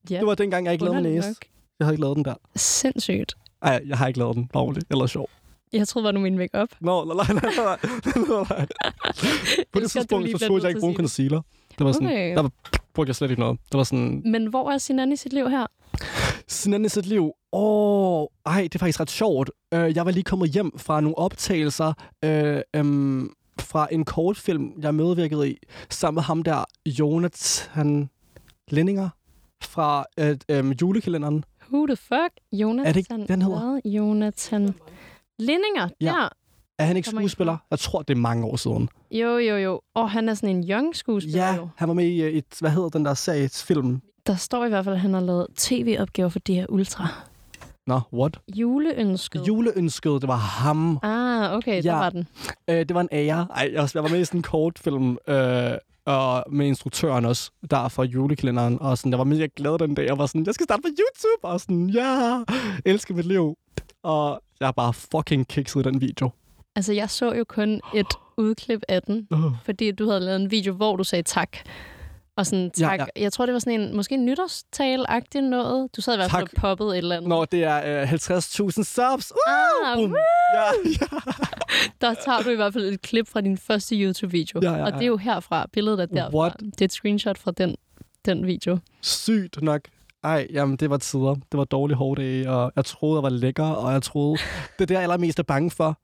Speaker 10: Ja,
Speaker 2: Det var dengang, jeg ikke lavede min
Speaker 10: underligt
Speaker 2: næse.
Speaker 10: nok.
Speaker 2: Jeg havde ikke lavet den der.
Speaker 10: Sindssygt.
Speaker 2: Ej, jeg har ikke lavet den. Bare roligt. Eller sjov.
Speaker 10: Jeg troede, var du min make-up.
Speaker 2: Nå, nej, nej, nej, nej, nej, nej. På det
Speaker 10: elsker, at du
Speaker 2: tidspunkt,
Speaker 10: lige
Speaker 2: så
Speaker 10: bliver
Speaker 2: tog jeg
Speaker 10: nødt til
Speaker 2: ikke
Speaker 10: at
Speaker 2: bruge
Speaker 10: sige det.
Speaker 2: concealer. Det var sådan,
Speaker 10: Okay.
Speaker 2: okay. der var, brugte jeg slet ikke noget. Det var sådan,
Speaker 10: Men hvor er Sinan i sit liv her?
Speaker 2: sådan i sit liv. Åh, ej, det er faktisk ret sjovt. Øh, Jeg var lige kommet hjem fra nogle optagelser øh, øhm, fra en kortfilm, jeg medvirkede i, sammen med ham der, Jonathan Lenninger fra øh, øhm, julekalenderen.
Speaker 10: Who the fuck? Jonathan.
Speaker 2: Er det ikke, den hedder?
Speaker 10: hvad? Jonathan. Lindinger,
Speaker 2: Ja.
Speaker 10: der.
Speaker 2: Er han ikke
Speaker 10: Kommer ikke på.
Speaker 2: skuespiller? Jeg tror, det er mange år siden.
Speaker 10: Jo, jo, jo. Og han er sådan en young skuespiller.
Speaker 2: Ja,
Speaker 10: Jo.
Speaker 2: han var med i, øh, et, hvad hedder den der serie, film?
Speaker 10: Der står i hvert fald, at han har lavet tv-opgaver for DR Ultra.
Speaker 2: Nå, what?
Speaker 10: Juleønsket.
Speaker 2: Juleønsket, det var ham.
Speaker 10: Ah, okay, ja. der
Speaker 2: Ja.
Speaker 10: var den.
Speaker 2: Øh, det var en ære. Ej, jeg, jeg var med i sådan en kortfilm, øh, og med instruktøren også, der fra julekalenderen. Og sådan, jeg var mega glad den dag. Jeg var sådan, jeg skal starte på YouTube. Og sådan, ja, elsker mit liv. Og jeg har bare fucking kikset i den video.
Speaker 10: Altså, jeg så jo kun et udklip af den,
Speaker 2: Uh.
Speaker 10: fordi du havde lavet en video, hvor du sagde tak. Og sådan,
Speaker 2: Ja,
Speaker 10: tak. Ja, ja. Jeg tror, det var sådan en, måske en nytårstale-agtig noget. Du sad i hvert fald
Speaker 2: Tak.
Speaker 10: og poppede et eller andet.
Speaker 2: Når det er øh, 50.000 subs. Uh!
Speaker 10: Ah,
Speaker 2: Boom. Ja, ja.
Speaker 10: der tager du i hvert fald et klip fra din første YouTube-video.
Speaker 2: Ja, ja,
Speaker 10: Og det er jo herfra, billedet er derfra.
Speaker 2: What?
Speaker 10: Det er et screenshot fra den, den video.
Speaker 2: Sygt nok. Ej, jamen det var tider. Det var dårlige hårde dage, og jeg troede, jeg var lækker, og jeg troede, det er det, jeg allermest er bange for.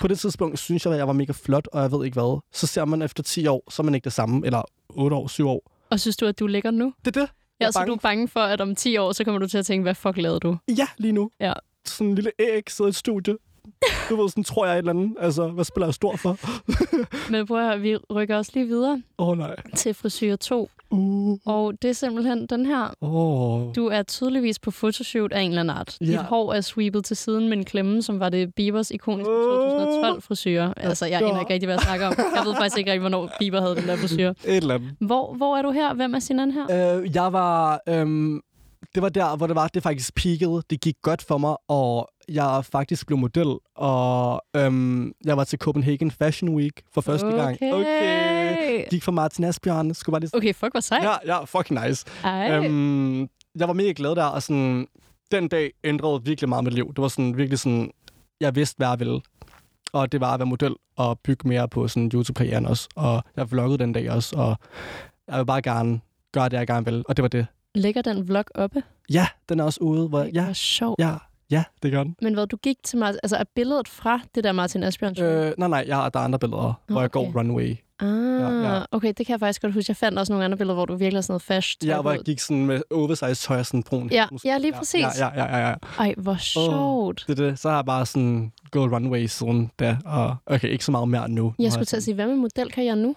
Speaker 2: På det tidspunkt synes jeg, at jeg var mega flot, og jeg ved ikke hvad. Så ser man efter 10 år, så er man ikke det samme, eller 8 år, 7 år.
Speaker 10: Og synes du, at du er lækker nu?
Speaker 2: Det er det. Jeg
Speaker 10: Ja,
Speaker 2: er
Speaker 10: så du er
Speaker 2: bange.
Speaker 10: bange for, at om 10 år, så kommer du til at tænke, hvad fuck lavede du?
Speaker 2: Ja, lige nu.
Speaker 10: Ja.
Speaker 2: Sådan en lille æg sidder i et studie. Du ved, sådan tror jeg et eller andet. Altså, hvad spiller jeg stor for?
Speaker 10: Men prøv at høre, vi rykker også lige videre
Speaker 2: Åh, oh, nej.
Speaker 10: til frisyr 2.
Speaker 2: Uh.
Speaker 10: Og det er simpelthen den her.
Speaker 2: Oh.
Speaker 10: Du er tydeligvis på photoshoot af en eller anden art.
Speaker 2: Ja.
Speaker 10: Ja. Dit hår er sweepet til siden med en klemme, som var det Biebers ikoniske 2012 frisyr. Altså, jeg aner ikke rigtig, hvad jeg snakker om. Jeg ved faktisk ikke rigtig, hvornår Bieber havde den der frisyr.
Speaker 2: Et eller andet.
Speaker 10: Hvor, hvor er du her? Hvem er Sinan her?
Speaker 2: Øh, jeg var... Øhm, det var der, hvor det var, det faktisk peakede. Det gik godt for mig, og jeg faktisk blev model. Og øhm, jeg var til Copenhagen Fashion Week for første gang.
Speaker 10: Okay.
Speaker 2: Gik for Martin Asbjørn. Skulle bare lige...
Speaker 10: Okay, fuck, hvor sejt.
Speaker 2: Ja, ja, fucking nice.
Speaker 10: Ej.
Speaker 2: Øhm, jeg var mega glad der, og sådan, den dag ændrede virkelig meget mit liv. Det var sådan virkelig sådan, jeg vidste, hvad jeg ville. Og det var at være model og bygge mere på sådan YouTube-karrieren også. Og jeg vloggede den dag også, og jeg vil bare gerne gøre det, jeg gerne vil. Og det var det.
Speaker 10: Lægger den vlog oppe?
Speaker 2: Ja, den er også ude. Hvor,
Speaker 10: Det var
Speaker 2: ja,
Speaker 10: sjovt.
Speaker 2: ja, ja, det gør den.
Speaker 10: Men hvad, du gik til Martin... Altså, er billedet fra det der Martin Asbjørn? Øh,
Speaker 2: Øh, nej, nej, jeg, der er andre billeder, okay. hvor jeg går
Speaker 10: Okay.
Speaker 2: runway.
Speaker 10: ah,
Speaker 2: ja, ja.
Speaker 10: okay, det kan jeg faktisk godt huske. Jeg fandt også nogle andre billeder, hvor du virkelig er sådan noget fast.
Speaker 2: Ja, hvor jeg gik sådan med oversized tøj og sådan brun.
Speaker 10: Ja,
Speaker 2: hættemus-
Speaker 10: ja, lige præcis.
Speaker 2: Ja, ja, ja, ja, ja.
Speaker 10: Ej, hvor sjovt.
Speaker 2: Det er det. Så har jeg bare sådan gået runway siden da, og okay, ikke så meget mere nu. Nu har
Speaker 10: Jeg skulle til at sige, hvad med modelkarriere nu?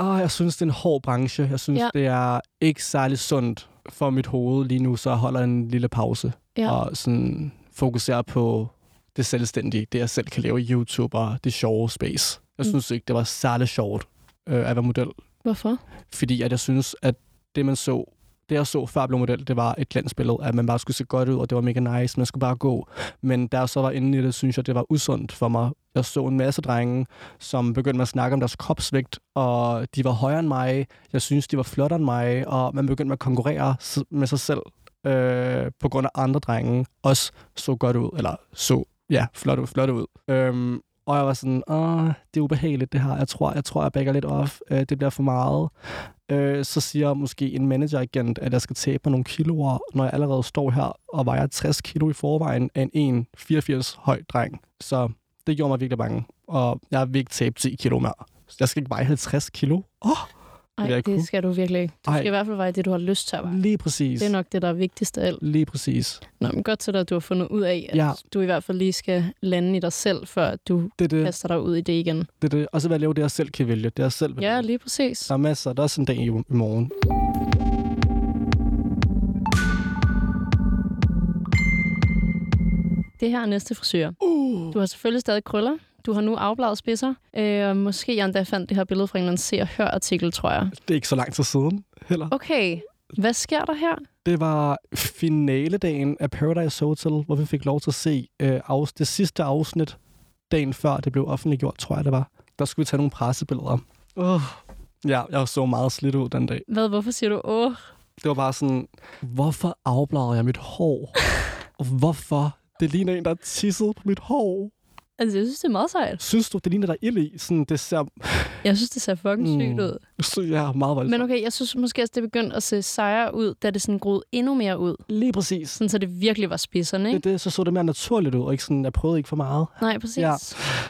Speaker 2: Åh, jeg synes, det er en hård branche. Jeg synes,
Speaker 10: Ja.
Speaker 2: ja. det er ikke særlig sundt for mit hoved lige nu, så jeg holder en lille pause
Speaker 10: Ja.
Speaker 2: og sådan fokuserer på det selvstændige, det jeg selv kan lave i YouTube og det sjove space.
Speaker 10: Mm.
Speaker 2: Jeg synes ikke, det var særlig sjovt øh, at være model,
Speaker 10: Hvorfor?
Speaker 2: fordi at jeg synes, at det man så, det jeg så før jeg blev model, det var et glansbillede, at man bare skulle se godt ud, og det var mega nice, man skulle bare gå. Men der så var inde i det, synes jeg, det var usundt for mig. Jeg så en masse drenge, som begyndte at snakke om deres kropsvægt, og de var højere end mig, jeg synes, de var flottere end mig, og man begyndte at konkurrere s- med sig selv, øh, på grund af andre drenge, også så godt ud, eller så, ja, flot ud, flot ud. Øhm, og jeg var sådan, åh, det er ubehageligt det her, jeg tror, jeg, tror, jeg backer lidt off, øh, det bliver for meget øh, så siger måske en manageragent, at jeg skal tabe mig nogle kiloer, når jeg allerede står her og vejer 60 kilo i forvejen af en 1,84 høj dreng. Så det gjorde mig virkelig bange, og jeg vil ikke tabe 10 kilo mere. Jeg skal ikke veje 50 kilo. Åh,
Speaker 10: Ej,
Speaker 2: vil jeg
Speaker 10: det,
Speaker 2: kunne.
Speaker 10: skal du virkelig ikke. Du
Speaker 2: Ej.
Speaker 10: skal i hvert fald være det, du har lyst til at være.
Speaker 2: lige præcis.
Speaker 10: Det er nok det, der er vigtigst af alt.
Speaker 2: Lige præcis.
Speaker 10: Nå, men godt til dig, at du har fundet ud af, at ja.
Speaker 2: Ja.
Speaker 10: du i hvert fald lige skal lande i dig selv, før du
Speaker 2: Det er det,
Speaker 10: kaster dig ud i det igen.
Speaker 2: det, er det. Og så vil jeg lave det, jeg selv kan vælge. Det jeg selv vil.
Speaker 10: Ja,
Speaker 2: vælge.
Speaker 10: lige præcis.
Speaker 2: Der er masser. Der er sådan en dag i, i morgen.
Speaker 10: Det her er næste frisyr. Uh. Du har selvfølgelig stadig krøller. Du har nu afbladet spidser. Øh, og måske jeg endda fandt det her billede fra en eller anden se- og hør-artikel, tror jeg.
Speaker 2: Det er ikke så lang tid siden heller.
Speaker 10: Okay, hvad sker der her?
Speaker 2: Det var finaledagen af Paradise Hotel, hvor vi fik lov til at se øh, af, det sidste afsnit dagen før det blev offentliggjort, tror jeg det var. Der skulle vi tage nogle pressebilleder. Uh. Ja, jeg så meget slidt ud den dag.
Speaker 10: Hvad, hvorfor siger du åh?
Speaker 2: Det var bare sådan, hvorfor afbladrede jeg mit hår? hvorfor? Det ligner en, der har tisset på mit hår.
Speaker 10: Altså, jeg synes, det er meget sejt.
Speaker 2: Synes du, det ligner der er ild i? Sådan, det ser
Speaker 10: Jeg synes, det ser fucking mm. sygt ud.
Speaker 2: så, ja, meget voldsomt.
Speaker 10: Men okay, jeg synes måske også, det begyndte at se sejere ud, da det sådan groede endnu mere ud.
Speaker 2: Lige præcis.
Speaker 10: Sådan, så det virkelig var spidserne, ikke?
Speaker 2: Det, det, så så det mere naturligt ud, og ikke sådan, jeg prøvede ikke for meget.
Speaker 10: Nej, præcis. Ja.
Speaker 2: Ja.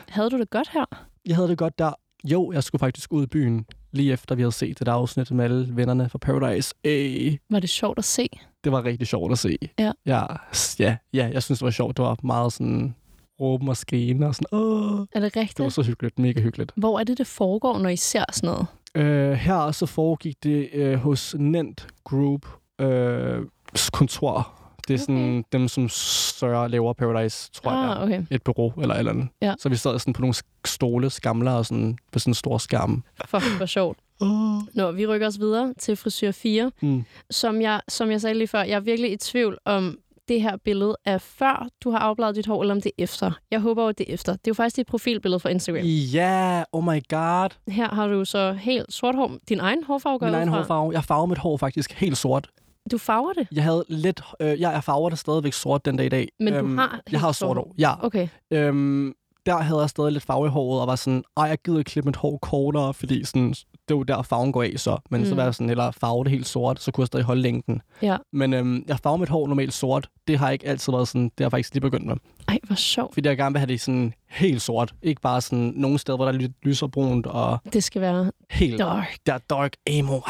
Speaker 10: Havde du det godt her?
Speaker 2: jeg havde det godt der. Jo, jeg skulle faktisk ud i byen, lige efter vi havde set det der afsnit med alle vennerne fra Paradise. Ey,
Speaker 10: Var det sjovt at se?
Speaker 2: det var rigtig sjovt at se.
Speaker 10: Ja.
Speaker 2: Ja, s- ja, ja jeg synes, det var sjovt. Det var meget sådan råben og skrigen og sådan, Åh.
Speaker 10: Er det rigtigt?
Speaker 2: Det var så hyggeligt, mega hyggeligt.
Speaker 10: Hvor er det, det foregår, når I ser sådan noget?
Speaker 2: Øh, her så foregik det øh, hos Nent Group øh, s- kontor. Det er sådan okay. dem, som sørger og laver Paradise, tror jeg.
Speaker 10: Ah, okay.
Speaker 2: Et bureau eller et eller andet.
Speaker 10: Ja.
Speaker 2: Så vi sad sådan på nogle sk- stole, skamler og sådan på sådan en stor skærm.
Speaker 10: Fuck, hvor sjovt.
Speaker 2: Åh.
Speaker 10: Nå, vi rykker os videre til frisyr 4.
Speaker 2: Mm.
Speaker 10: Som jeg, som jeg sagde lige før, jeg er virkelig i tvivl om det her billede er før du har afbladet dit hår, eller om det er efter. Jeg håber jo, at det er efter. Det er jo faktisk dit profilbillede fra Instagram.
Speaker 2: Ja, yeah, oh my god.
Speaker 10: Her har du så helt sort hår. Din egen hårfarve går
Speaker 2: Min
Speaker 10: jeg
Speaker 2: egen
Speaker 10: ud fra.
Speaker 2: hårfarve. Jeg farvede mit hår faktisk helt sort.
Speaker 10: Du farver det?
Speaker 2: Jeg havde lidt... Øh, jeg, jeg farver det stadigvæk sort den dag i dag.
Speaker 10: Men du har helt
Speaker 2: Jeg har
Speaker 10: sort
Speaker 2: sort
Speaker 10: hår.
Speaker 2: hår, ja.
Speaker 10: Okay.
Speaker 2: Øhm, der havde jeg stadig lidt farve i håret, og var sådan, ej, jeg gider ikke klippe mit hår kortere, fordi sådan, det er jo der, farven går af så. Men mm. så
Speaker 10: Mm.
Speaker 2: var jeg sådan, eller farve det helt sort, så kunne jeg stadig holde længden.
Speaker 10: Ja.
Speaker 2: Men øhm, jeg farver mit hår normalt sort. Det har ikke altid været sådan, det har jeg faktisk lige begyndt med.
Speaker 10: Ej, hvor sjovt.
Speaker 2: Fordi jeg gerne vil have det sådan helt sort. Ikke bare sådan nogle steder, hvor der er lidt lysere brunt og
Speaker 10: Det skal være
Speaker 2: helt...
Speaker 10: dark.
Speaker 2: Der er dark Ah, emo.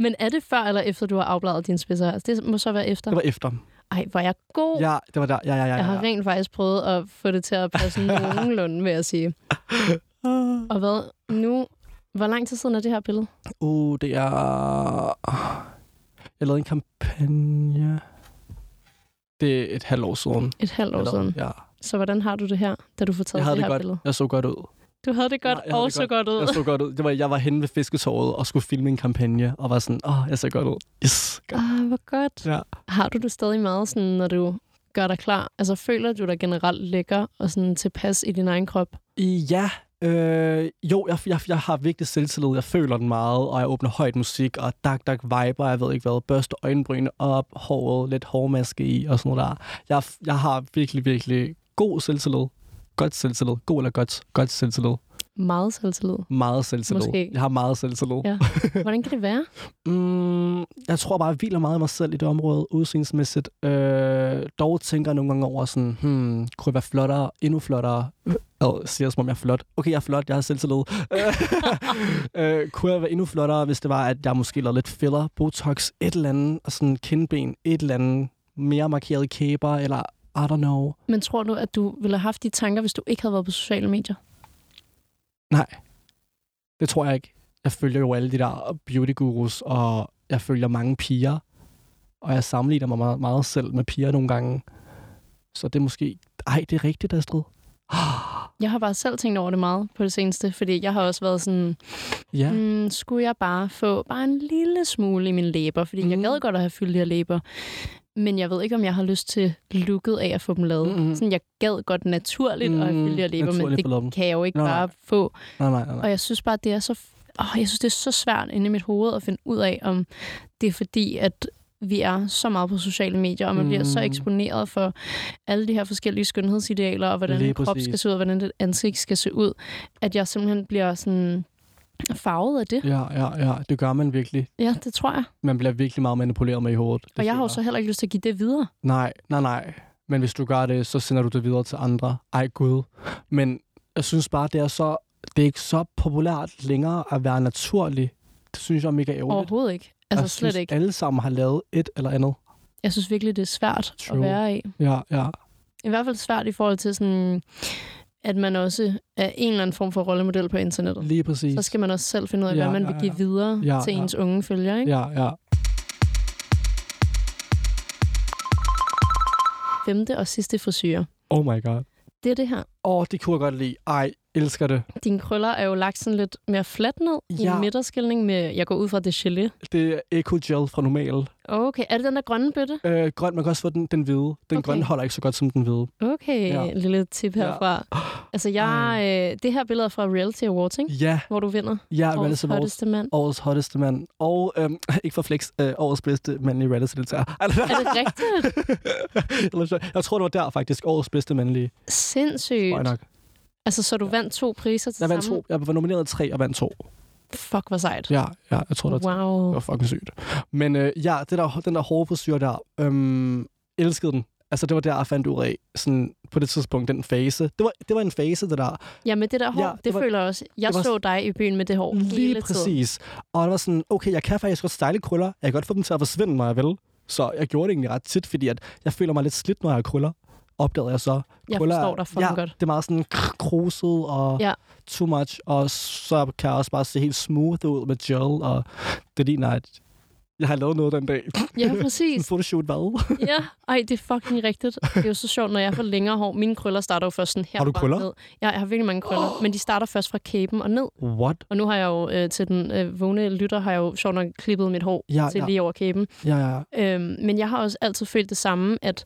Speaker 10: Men er det før eller efter, du har afbladet dine spidser? Altså, det må så være efter.
Speaker 2: Det var efter.
Speaker 10: Ej, hvor er jeg god.
Speaker 2: Ja, det var der. Ja, ja, ja.
Speaker 10: Oh. Jeg
Speaker 2: ja,
Speaker 10: har
Speaker 2: ja.
Speaker 10: rent faktisk prøvet at få det til at passe nogenlunde, vil jeg sige. Og hvad nu? Hvor lang tid siden er det her billede?
Speaker 2: Uh, det er... Jeg lavede en kampagne... Det er et halvt år siden.
Speaker 10: Et halvt år
Speaker 2: Eller-
Speaker 10: siden.
Speaker 2: Ja.
Speaker 10: Så hvordan har du det her, da du får
Speaker 2: Jeg
Speaker 10: taget
Speaker 2: havde
Speaker 10: det
Speaker 2: det
Speaker 10: her
Speaker 2: godt.
Speaker 10: billede?
Speaker 2: Jeg så godt ud.
Speaker 10: Du havde det godt
Speaker 2: Nej, jeg havde
Speaker 10: og
Speaker 2: det
Speaker 10: så godt ud.
Speaker 2: Jeg så godt ud. Det var, jeg var henne ved fisketåret og skulle filme en kampagne, og var sådan, åh, oh, jeg ser godt ud. Yes, godt.
Speaker 10: Ah, hvor godt.
Speaker 2: Ja.
Speaker 10: Har du det stadig meget sådan, når du gør dig klar? Altså, føler du dig generelt lækker og sådan tilpas i din egen krop?
Speaker 2: Ja, øh, jo, jeg, jeg, jeg har virkelig selvtillid. Jeg føler den meget, og jeg åbner højt musik, og dak dak viber, jeg ved ikke hvad, børste øjenbryn op, håret, lidt hårmaske i og sådan noget der. Jeg, jeg har virkelig, virkelig god selvtillid. Godt selvtillid. God eller godt? Godt selvtillid.
Speaker 10: Meget selvtillid.
Speaker 2: Meget selvtillid.
Speaker 10: Måske.
Speaker 2: Jeg har meget selvtillid.
Speaker 10: Ja. Hvordan kan det være?
Speaker 2: Mm, jeg tror bare, jeg hviler meget i mig selv i det område, udseendsmæssigt. Øh, dog tænker jeg nogle gange over sådan, hmm, kunne jeg være flottere, endnu flottere? Øh, siger jeg, som om jeg er flot. Okay, jeg er flot, jeg har selvtillid. Øh, øh, kunne jeg være endnu flottere, hvis det var, at jeg måske lavede lidt filler, botox, et eller andet, og sådan kindben, et eller andet, mere markeret kæber, eller I don't know.
Speaker 10: Men tror du, at du ville have haft de tanker, hvis du ikke havde været på sociale medier?
Speaker 2: Nej, det tror jeg ikke. Jeg følger jo alle de der beauty gurus, og jeg følger mange piger. Og jeg sammenligner mig meget, meget selv med piger nogle gange. Så det er måske... Ej, det er rigtigt, Astrid.
Speaker 10: Jeg har bare selv tænkt over det meget på det seneste, fordi jeg har også været sådan,
Speaker 2: Ja. Mm.
Speaker 10: mm, skulle jeg bare få bare en lille smule i mine læber, fordi mm. jeg
Speaker 2: Mm.
Speaker 10: gad godt at have fyldt de her læber. Men jeg ved ikke, om jeg har lyst til looket af at få dem lavet. Mm.
Speaker 2: Mhm.
Speaker 10: Sådan, jeg gad godt naturligt mm. at have
Speaker 2: Mm,
Speaker 10: fyldt de her læber, men
Speaker 2: naturligt få lavet dem.
Speaker 10: det kan jeg jo ikke
Speaker 2: Nå, nej.
Speaker 10: bare få.
Speaker 2: Nej, nej, nej. nej.
Speaker 10: Og jeg synes bare, det er så... Oh, jeg synes, det er så svært inde i mit hoved at finde ud af, om det er fordi, at vi er så meget på sociale medier, og man mm. bliver så
Speaker 2: Mm.
Speaker 10: eksponeret for alle de her forskellige skønhedsidealer, og hvordan
Speaker 2: Lige
Speaker 10: en krop
Speaker 2: præcis.
Speaker 10: skal se ud, og hvordan et ansigt skal se ud, at jeg simpelthen bliver sådan farvet af det.
Speaker 2: Ja, ja, ja. Det gør man virkelig.
Speaker 10: Ja, det tror jeg.
Speaker 2: Man bliver virkelig meget manipuleret med i hovedet. Det
Speaker 10: Og jeg har jo
Speaker 2: føler
Speaker 10: så heller ikke lyst til at give det videre.
Speaker 2: Nej, nej, nej. Men hvis du gør det, så sender du det videre til andre. Ej gud. Men jeg synes bare, det er så det er ikke så populært længere at være naturlig. Det synes jeg er mega ærgerligt.
Speaker 10: Overhovedet ikke. Altså
Speaker 2: jeg
Speaker 10: slet
Speaker 2: synes,
Speaker 10: ikke.
Speaker 2: alle sammen har lavet et eller andet.
Speaker 10: Jeg synes virkelig, det er svært at
Speaker 2: True.
Speaker 10: være i.
Speaker 2: Ja, ja.
Speaker 10: I hvert fald svært i forhold til sådan, at man også er en eller anden form for rollemodel på internettet.
Speaker 2: Lige præcis.
Speaker 10: så skal man også selv finde ud af, hvad
Speaker 2: Ja,
Speaker 10: man
Speaker 2: ja,
Speaker 10: vil give
Speaker 2: ja.
Speaker 10: videre
Speaker 2: Ja,
Speaker 10: til
Speaker 2: ja.
Speaker 10: ens unge følgere. Ikke?
Speaker 2: Ja, ja.
Speaker 10: 5. og sidste frisyrer.
Speaker 2: Oh my god.
Speaker 10: Det er det her.
Speaker 2: Åh, oh, det kunne jeg godt lide. Ej, elsker det.
Speaker 10: Dine krøller er jo lagt sådan lidt mere fladt ned ja. i
Speaker 2: Ja.
Speaker 10: en midterskilning med, jeg går ud fra det er gelé.
Speaker 2: Det er Eco Gel fra normal.
Speaker 10: Okay, er det den der grønne bøtte?
Speaker 2: Øh, grøn, man kan også få den, den hvide. Den
Speaker 10: Okay.
Speaker 2: okay. grønne holder ikke så godt som den hvide.
Speaker 10: Okay, ja.
Speaker 2: Ja.
Speaker 10: lille tip herfra. Ja. Altså, jeg, øh, det her billede er fra Reality Awards, ikke?
Speaker 2: Ja,
Speaker 10: hvor du vinder
Speaker 2: ja,
Speaker 10: årets
Speaker 2: Reality Awards.
Speaker 10: hotteste mand.
Speaker 2: Årets hotteste mand. Og øhm, ikke for flex, øh, årets bedste mandlige reality-deltager.
Speaker 10: Er det rigtigt?
Speaker 2: rigtigt? jeg tror, det var der faktisk. Årets bedste mandlige. Tror jeg
Speaker 10: Sindssygt.
Speaker 2: nok.
Speaker 10: Altså, så du vandt to priser til
Speaker 2: Jeg vandt
Speaker 10: sammen?
Speaker 2: to. Jeg var nomineret tre og vandt to.
Speaker 10: Fuck, hvor sejt.
Speaker 2: Ja, ja jeg tror, det var
Speaker 10: Wow.
Speaker 2: Det var fucking sygt. Men øh, ja, det der, den der hårde frisyr der, øhm, elskede den. Altså, det var der, jeg fandt ud af, sådan, på det tidspunkt, den fase. Det var, det var en fase, det der.
Speaker 10: Ja, med det der hår,
Speaker 2: Ja,
Speaker 10: det,
Speaker 2: det var-
Speaker 10: føler jeg også. Jeg
Speaker 2: det var-
Speaker 10: så dig i byen med det hår hele
Speaker 2: Lige
Speaker 10: tiden.
Speaker 2: præcis. Og det var sådan, okay, jeg kan faktisk godt style krøller. Jeg kan godt få dem til at forsvinde, når jeg vil. Så jeg gjorde det egentlig ret tit, fordi at jeg føler mig lidt slidt, når jeg har krøller. Opdagede jeg så.
Speaker 10: Jeg
Speaker 2: Krøller er-
Speaker 10: forstår dig fucking
Speaker 2: ja,
Speaker 10: godt.
Speaker 2: det er meget sådan kr- kruset og
Speaker 10: Ja.
Speaker 2: ja. too much. Og så kan jeg også bare se helt smooth ud med gel. Og det ligner, at jeg har lavet noget den dag.
Speaker 10: Ja,
Speaker 2: En
Speaker 10: præcis.
Speaker 2: photoshoot, hvad?
Speaker 10: Ja, ej, det er fucking rigtigt. Det er jo så sjovt, når jeg får længere hår. Mine krøller starter jo først sådan her.
Speaker 2: Har du krøller?
Speaker 10: Ned. Ja, jeg har virkelig mange krøller, men de starter først fra kæben og ned.
Speaker 2: What?
Speaker 10: Og nu har jeg jo øh, til den øh, vågne lytter, har jeg jo sjovt nok klippet mit hår
Speaker 2: Ja,
Speaker 10: til
Speaker 2: ja.
Speaker 10: lige over kæben.
Speaker 2: Ja, ja, ja.
Speaker 10: Øhm, men jeg har også altid følt det samme, at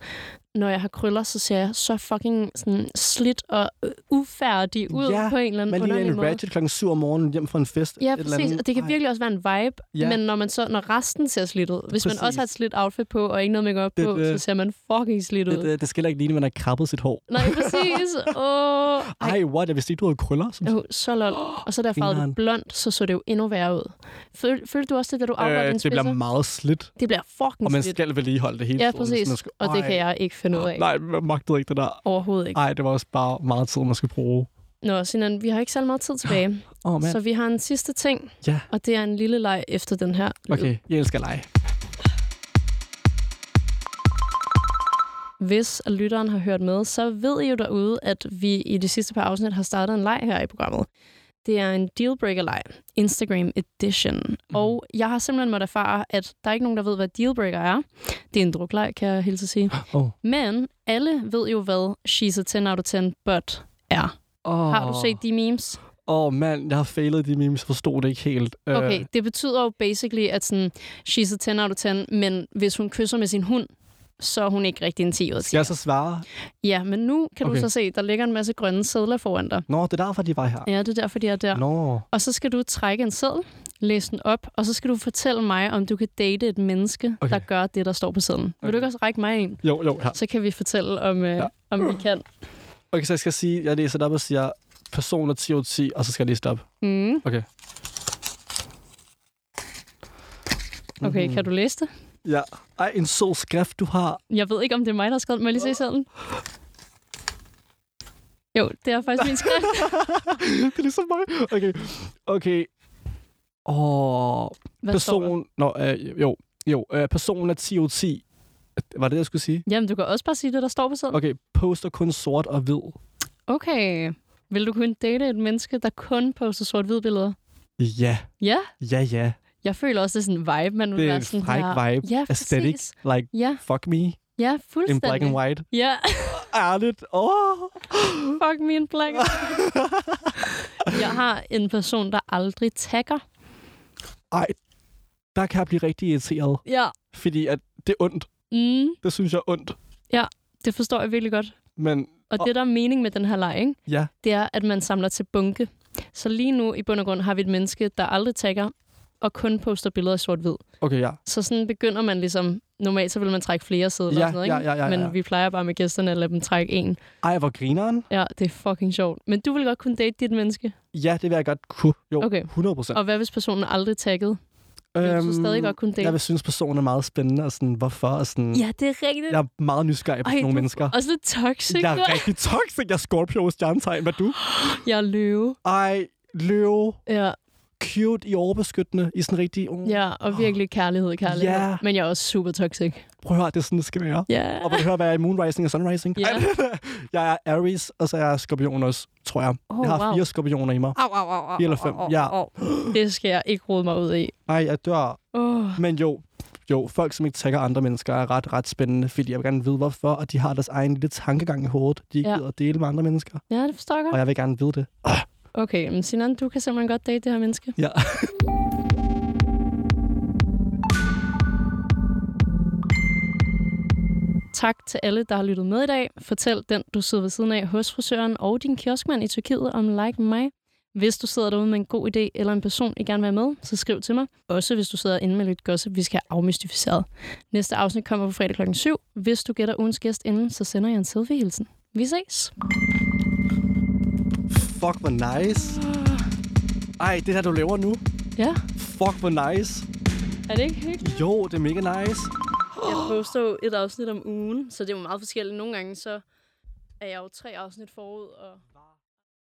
Speaker 10: når jeg har krøller, så ser jeg så fucking sådan slidt og øh, ufærdig ud
Speaker 2: Ja,
Speaker 10: på en eller anden
Speaker 2: Man ligner
Speaker 10: underlig
Speaker 2: en
Speaker 10: måde.
Speaker 2: ratchet klokken 7 om morgenen hjem fra en fest.
Speaker 10: Ja,
Speaker 2: et eller
Speaker 10: præcis.
Speaker 2: andet.
Speaker 10: Og det kan
Speaker 2: Ej.
Speaker 10: virkelig også være en vibe,
Speaker 2: Ja.
Speaker 10: ja. men når man så når resten ser slidt ud, hvis
Speaker 2: Præcis.
Speaker 10: man også har et slidt outfit på og ikke noget makeup
Speaker 2: Det-
Speaker 10: på,
Speaker 2: det-
Speaker 10: så ser man fucking slidt ud.
Speaker 2: Det, det, det skal heller ikke ligne, at man har krabbet sit hår.
Speaker 10: Nej, præcis. Åh, ej,
Speaker 2: Ej, what? Jeg vidste ikke, du havde krøller. Som...
Speaker 10: jo, så lol. Og så da jeg farvede
Speaker 2: Grineren.
Speaker 10: det blond, så så det jo endnu værre ud. Føl, følte du også det, da du afbrød øh, din
Speaker 2: det
Speaker 10: spidser?
Speaker 2: bliver meget slidt,
Speaker 10: det bliver fucking
Speaker 2: og man
Speaker 10: slidt.
Speaker 2: skal vedligeholde det hele
Speaker 10: Ja,
Speaker 2: tiden, så
Speaker 10: præcis.
Speaker 2: man skal-
Speaker 10: Og det
Speaker 2: Ej.
Speaker 10: kan jeg ikke finde ud af.
Speaker 2: Nej, man magtede ikke det der.
Speaker 10: Overhovedet ikke.
Speaker 2: Nej, det var også bare meget tid, man skulle bruge.
Speaker 10: Nå, Sinan, vi har ikke særlig meget tid tilbage.
Speaker 2: Åh, oh, mand.
Speaker 10: Så vi har en sidste ting,
Speaker 2: Ja.
Speaker 10: og det er en lille leg efter den her. lyd.
Speaker 2: Okay, jeg elsker lege.
Speaker 10: Hvis lytteren har hørt med, så ved I jo derude, at vi i de sidste par afsnit har startet en leg her i programmet. Det er en dealbreaker-leg, Instagram Edition. Mm. Og jeg har simpelthen måttet erfare, at der er ikke nogen, der ved, hvad dealbreaker er. Det er en drukleg, kan jeg hilse at sige.
Speaker 2: Åh.
Speaker 10: Men alle ved jo, hvad She's a 10 out of 10, but er.
Speaker 2: Oh.
Speaker 10: Har du set de memes?
Speaker 2: Åh, oh, mand, jeg har failet de memes. Jeg forstod det ikke helt. Øh,
Speaker 10: Okay, det betyder jo basically, at sådan, she's a 10 out of 10, men hvis hun kysser med sin hund, så er hun ikke rigtig en 10 ud af 10.
Speaker 2: skal jeg så svare?
Speaker 10: Ja, men nu kan okay.
Speaker 2: Okay.
Speaker 10: du så se, der ligger en masse grønne sædler foran dig.
Speaker 2: Nå, det er derfor, de var her.
Speaker 10: Ja, det er derfor, de er der.
Speaker 2: Nå.
Speaker 10: Og så skal du trække en sædel, læse den op, og så skal du fortælle mig, om du kan date et menneske,
Speaker 2: Okay.
Speaker 10: okay. der gør det, der står på sædlen. Okay. Vil du ikke også række mig en?
Speaker 2: Jo, jo, her.
Speaker 10: Så kan vi fortælle, om, øh, ja. om vi kan.
Speaker 2: Okay, så jeg skal sige, jeg læser det op og siger, personer 10 ud af 10, og så skal jeg lige stoppe.
Speaker 10: Mm.
Speaker 2: Okay.
Speaker 10: Okay, kan du læse det?
Speaker 2: Ja. Ej, en sød skrift, du har.
Speaker 10: Jeg ved ikke, om det er mig, der har skrevet den. Må jeg lige se sædlen? Jo, det er faktisk min skrift.
Speaker 2: det er ligesom mig. Okay. Okay. Åh,
Speaker 10: Hvad står der?
Speaker 2: person... Nå, øh, jo. Jo, øh, personen er 10 ud af 10. Var det, jeg skulle sige?
Speaker 10: Jamen, du kan også bare sige det, der står på sædlen.
Speaker 2: Okay, poster kun sort og hvid.
Speaker 10: Okay. Vil du kunne date et menneske, der kun poster sort-hvide billeder?
Speaker 2: Ja,
Speaker 10: Ja,
Speaker 2: ja, ja.
Speaker 10: jeg føler også, det Mm, er sådan en vibe, man vil
Speaker 2: Det er
Speaker 10: være
Speaker 2: en
Speaker 10: sådan
Speaker 2: fræk
Speaker 10: her.
Speaker 2: vibe.
Speaker 10: Ja,
Speaker 2: Aesthetic.
Speaker 10: præcis.
Speaker 2: Like,
Speaker 10: Ja,
Speaker 2: fuck me.
Speaker 10: ja,
Speaker 2: In
Speaker 10: fuldstændig.
Speaker 2: black and white. Mhm.
Speaker 10: Ja,
Speaker 2: Ærligt. Åh.
Speaker 10: fuck me in black. jeg har en person, der aldrig tagger.
Speaker 2: Ej, der kan jeg blive rigtig irriteret.
Speaker 10: Ja.
Speaker 2: Fordi at det er ondt.
Speaker 10: Mm,
Speaker 2: Det synes jeg er ondt.
Speaker 10: det forstår jeg virkelig godt.
Speaker 2: Men
Speaker 10: Og
Speaker 2: Og-
Speaker 10: det, der er mening med den her leg, ikke?
Speaker 2: ja,
Speaker 10: det er, at man samler til bunke. Så lige nu i bund og grund har vi et menneske, der aldrig tagger og kun poster billeder i sort-hvid.
Speaker 2: okay, ja.
Speaker 10: Så sådan begynder man ligesom... Normalt så vil man trække flere sædler
Speaker 2: Ja,
Speaker 10: og sådan noget, ikke?
Speaker 2: ja, ja, ja, ja.
Speaker 10: Men vi plejer bare med gæsterne at lade dem trække en.
Speaker 2: Ej, hvor grineren.
Speaker 10: Ja, det er fucking sjovt. Men du vil godt kunne date dit menneske.
Speaker 2: Ja, det vil jeg godt kunne. Jo,
Speaker 10: Okay.
Speaker 2: 100 procent. Øhm,
Speaker 10: Og hvad hvis personen aldrig taggede?
Speaker 2: Mm.
Speaker 10: Vil du så stadig godt kunne date?
Speaker 2: Jeg vil synes, personen er meget spændende, og sådan, hvorfor, og sådan...
Speaker 10: Ja, det er rigtigt.
Speaker 2: Jeg er meget nysgerrig på sådan nogle
Speaker 10: du er
Speaker 2: mennesker.
Speaker 10: Også lidt toxic.
Speaker 2: Jeg
Speaker 10: Jeg,
Speaker 2: er rigtig toxic. Jeg er Scorpio stjernetegn. Hvad er du?
Speaker 10: jeg er løve.
Speaker 2: Ej, løve.
Speaker 10: Ja,
Speaker 2: Cute i overbeskyttende. I sådan rigtig... Oh.
Speaker 10: ja, og virkelig kærlighed, kærlighed.
Speaker 2: Ja.
Speaker 10: Men jeg er også super toxic.
Speaker 2: Prøv at høre, det er sådan, det skal være.
Speaker 10: Ja.
Speaker 2: Og vil du høre, hvad jeg er i Moonrising og Sunrising?
Speaker 10: Ja.
Speaker 2: jeg er Aries, og så er jeg skorpion også, tror jeg.
Speaker 10: Åh,
Speaker 2: jeg har
Speaker 10: wow.
Speaker 2: fire skorpioner i mig.
Speaker 10: Au, au, au, au,
Speaker 2: Fire eller fem.
Speaker 10: au, au,
Speaker 2: Ja.
Speaker 10: au. Det skal jeg ikke rode mig ud i.
Speaker 2: Nej, jeg dør.
Speaker 10: Oh.
Speaker 2: Men jo, jo, folk, som ikke tager andre mennesker, er ret, ret spændende, fordi jeg vil gerne vide, hvorfor, og de har deres egen lille tankegang i hovedet, de ikke
Speaker 10: Ja.
Speaker 2: gider at dele med andre mennesker,
Speaker 10: Ja, det forstår jeg
Speaker 2: og
Speaker 10: godt.
Speaker 2: jeg vil gerne vide det.
Speaker 10: Okay, men Sinan, du kan simpelthen godt date det her menneske.
Speaker 2: Ja.
Speaker 10: Tak til alle, der har lyttet med i dag. Fortæl den, du sidder ved siden af hos frisøren og din kioskmand i Tyrkiet om Like mig. Hvis du sidder derude med en god idé eller en person, I gerne vil være med, så skriv til mig. Også hvis du sidder inde med lidt gossip, vi skal have afmystificeret. Næste afsnit kommer på fredag klokken 7. Hvis du gætter ugens gæst inden, så sender jeg en selfie-hilsen. Vi ses!
Speaker 2: Fuck, hvor nice. Ej, det der, du laver nu.
Speaker 10: Ja,
Speaker 2: Fuck, hvor nice.
Speaker 10: er det ikke hyggeligt?
Speaker 2: Jo, det er mega nice.
Speaker 10: Jeg poster jo et afsnit om ugen, så det er jo meget forskelligt. Nogle gange så er jeg jo tre afsnit forud, og...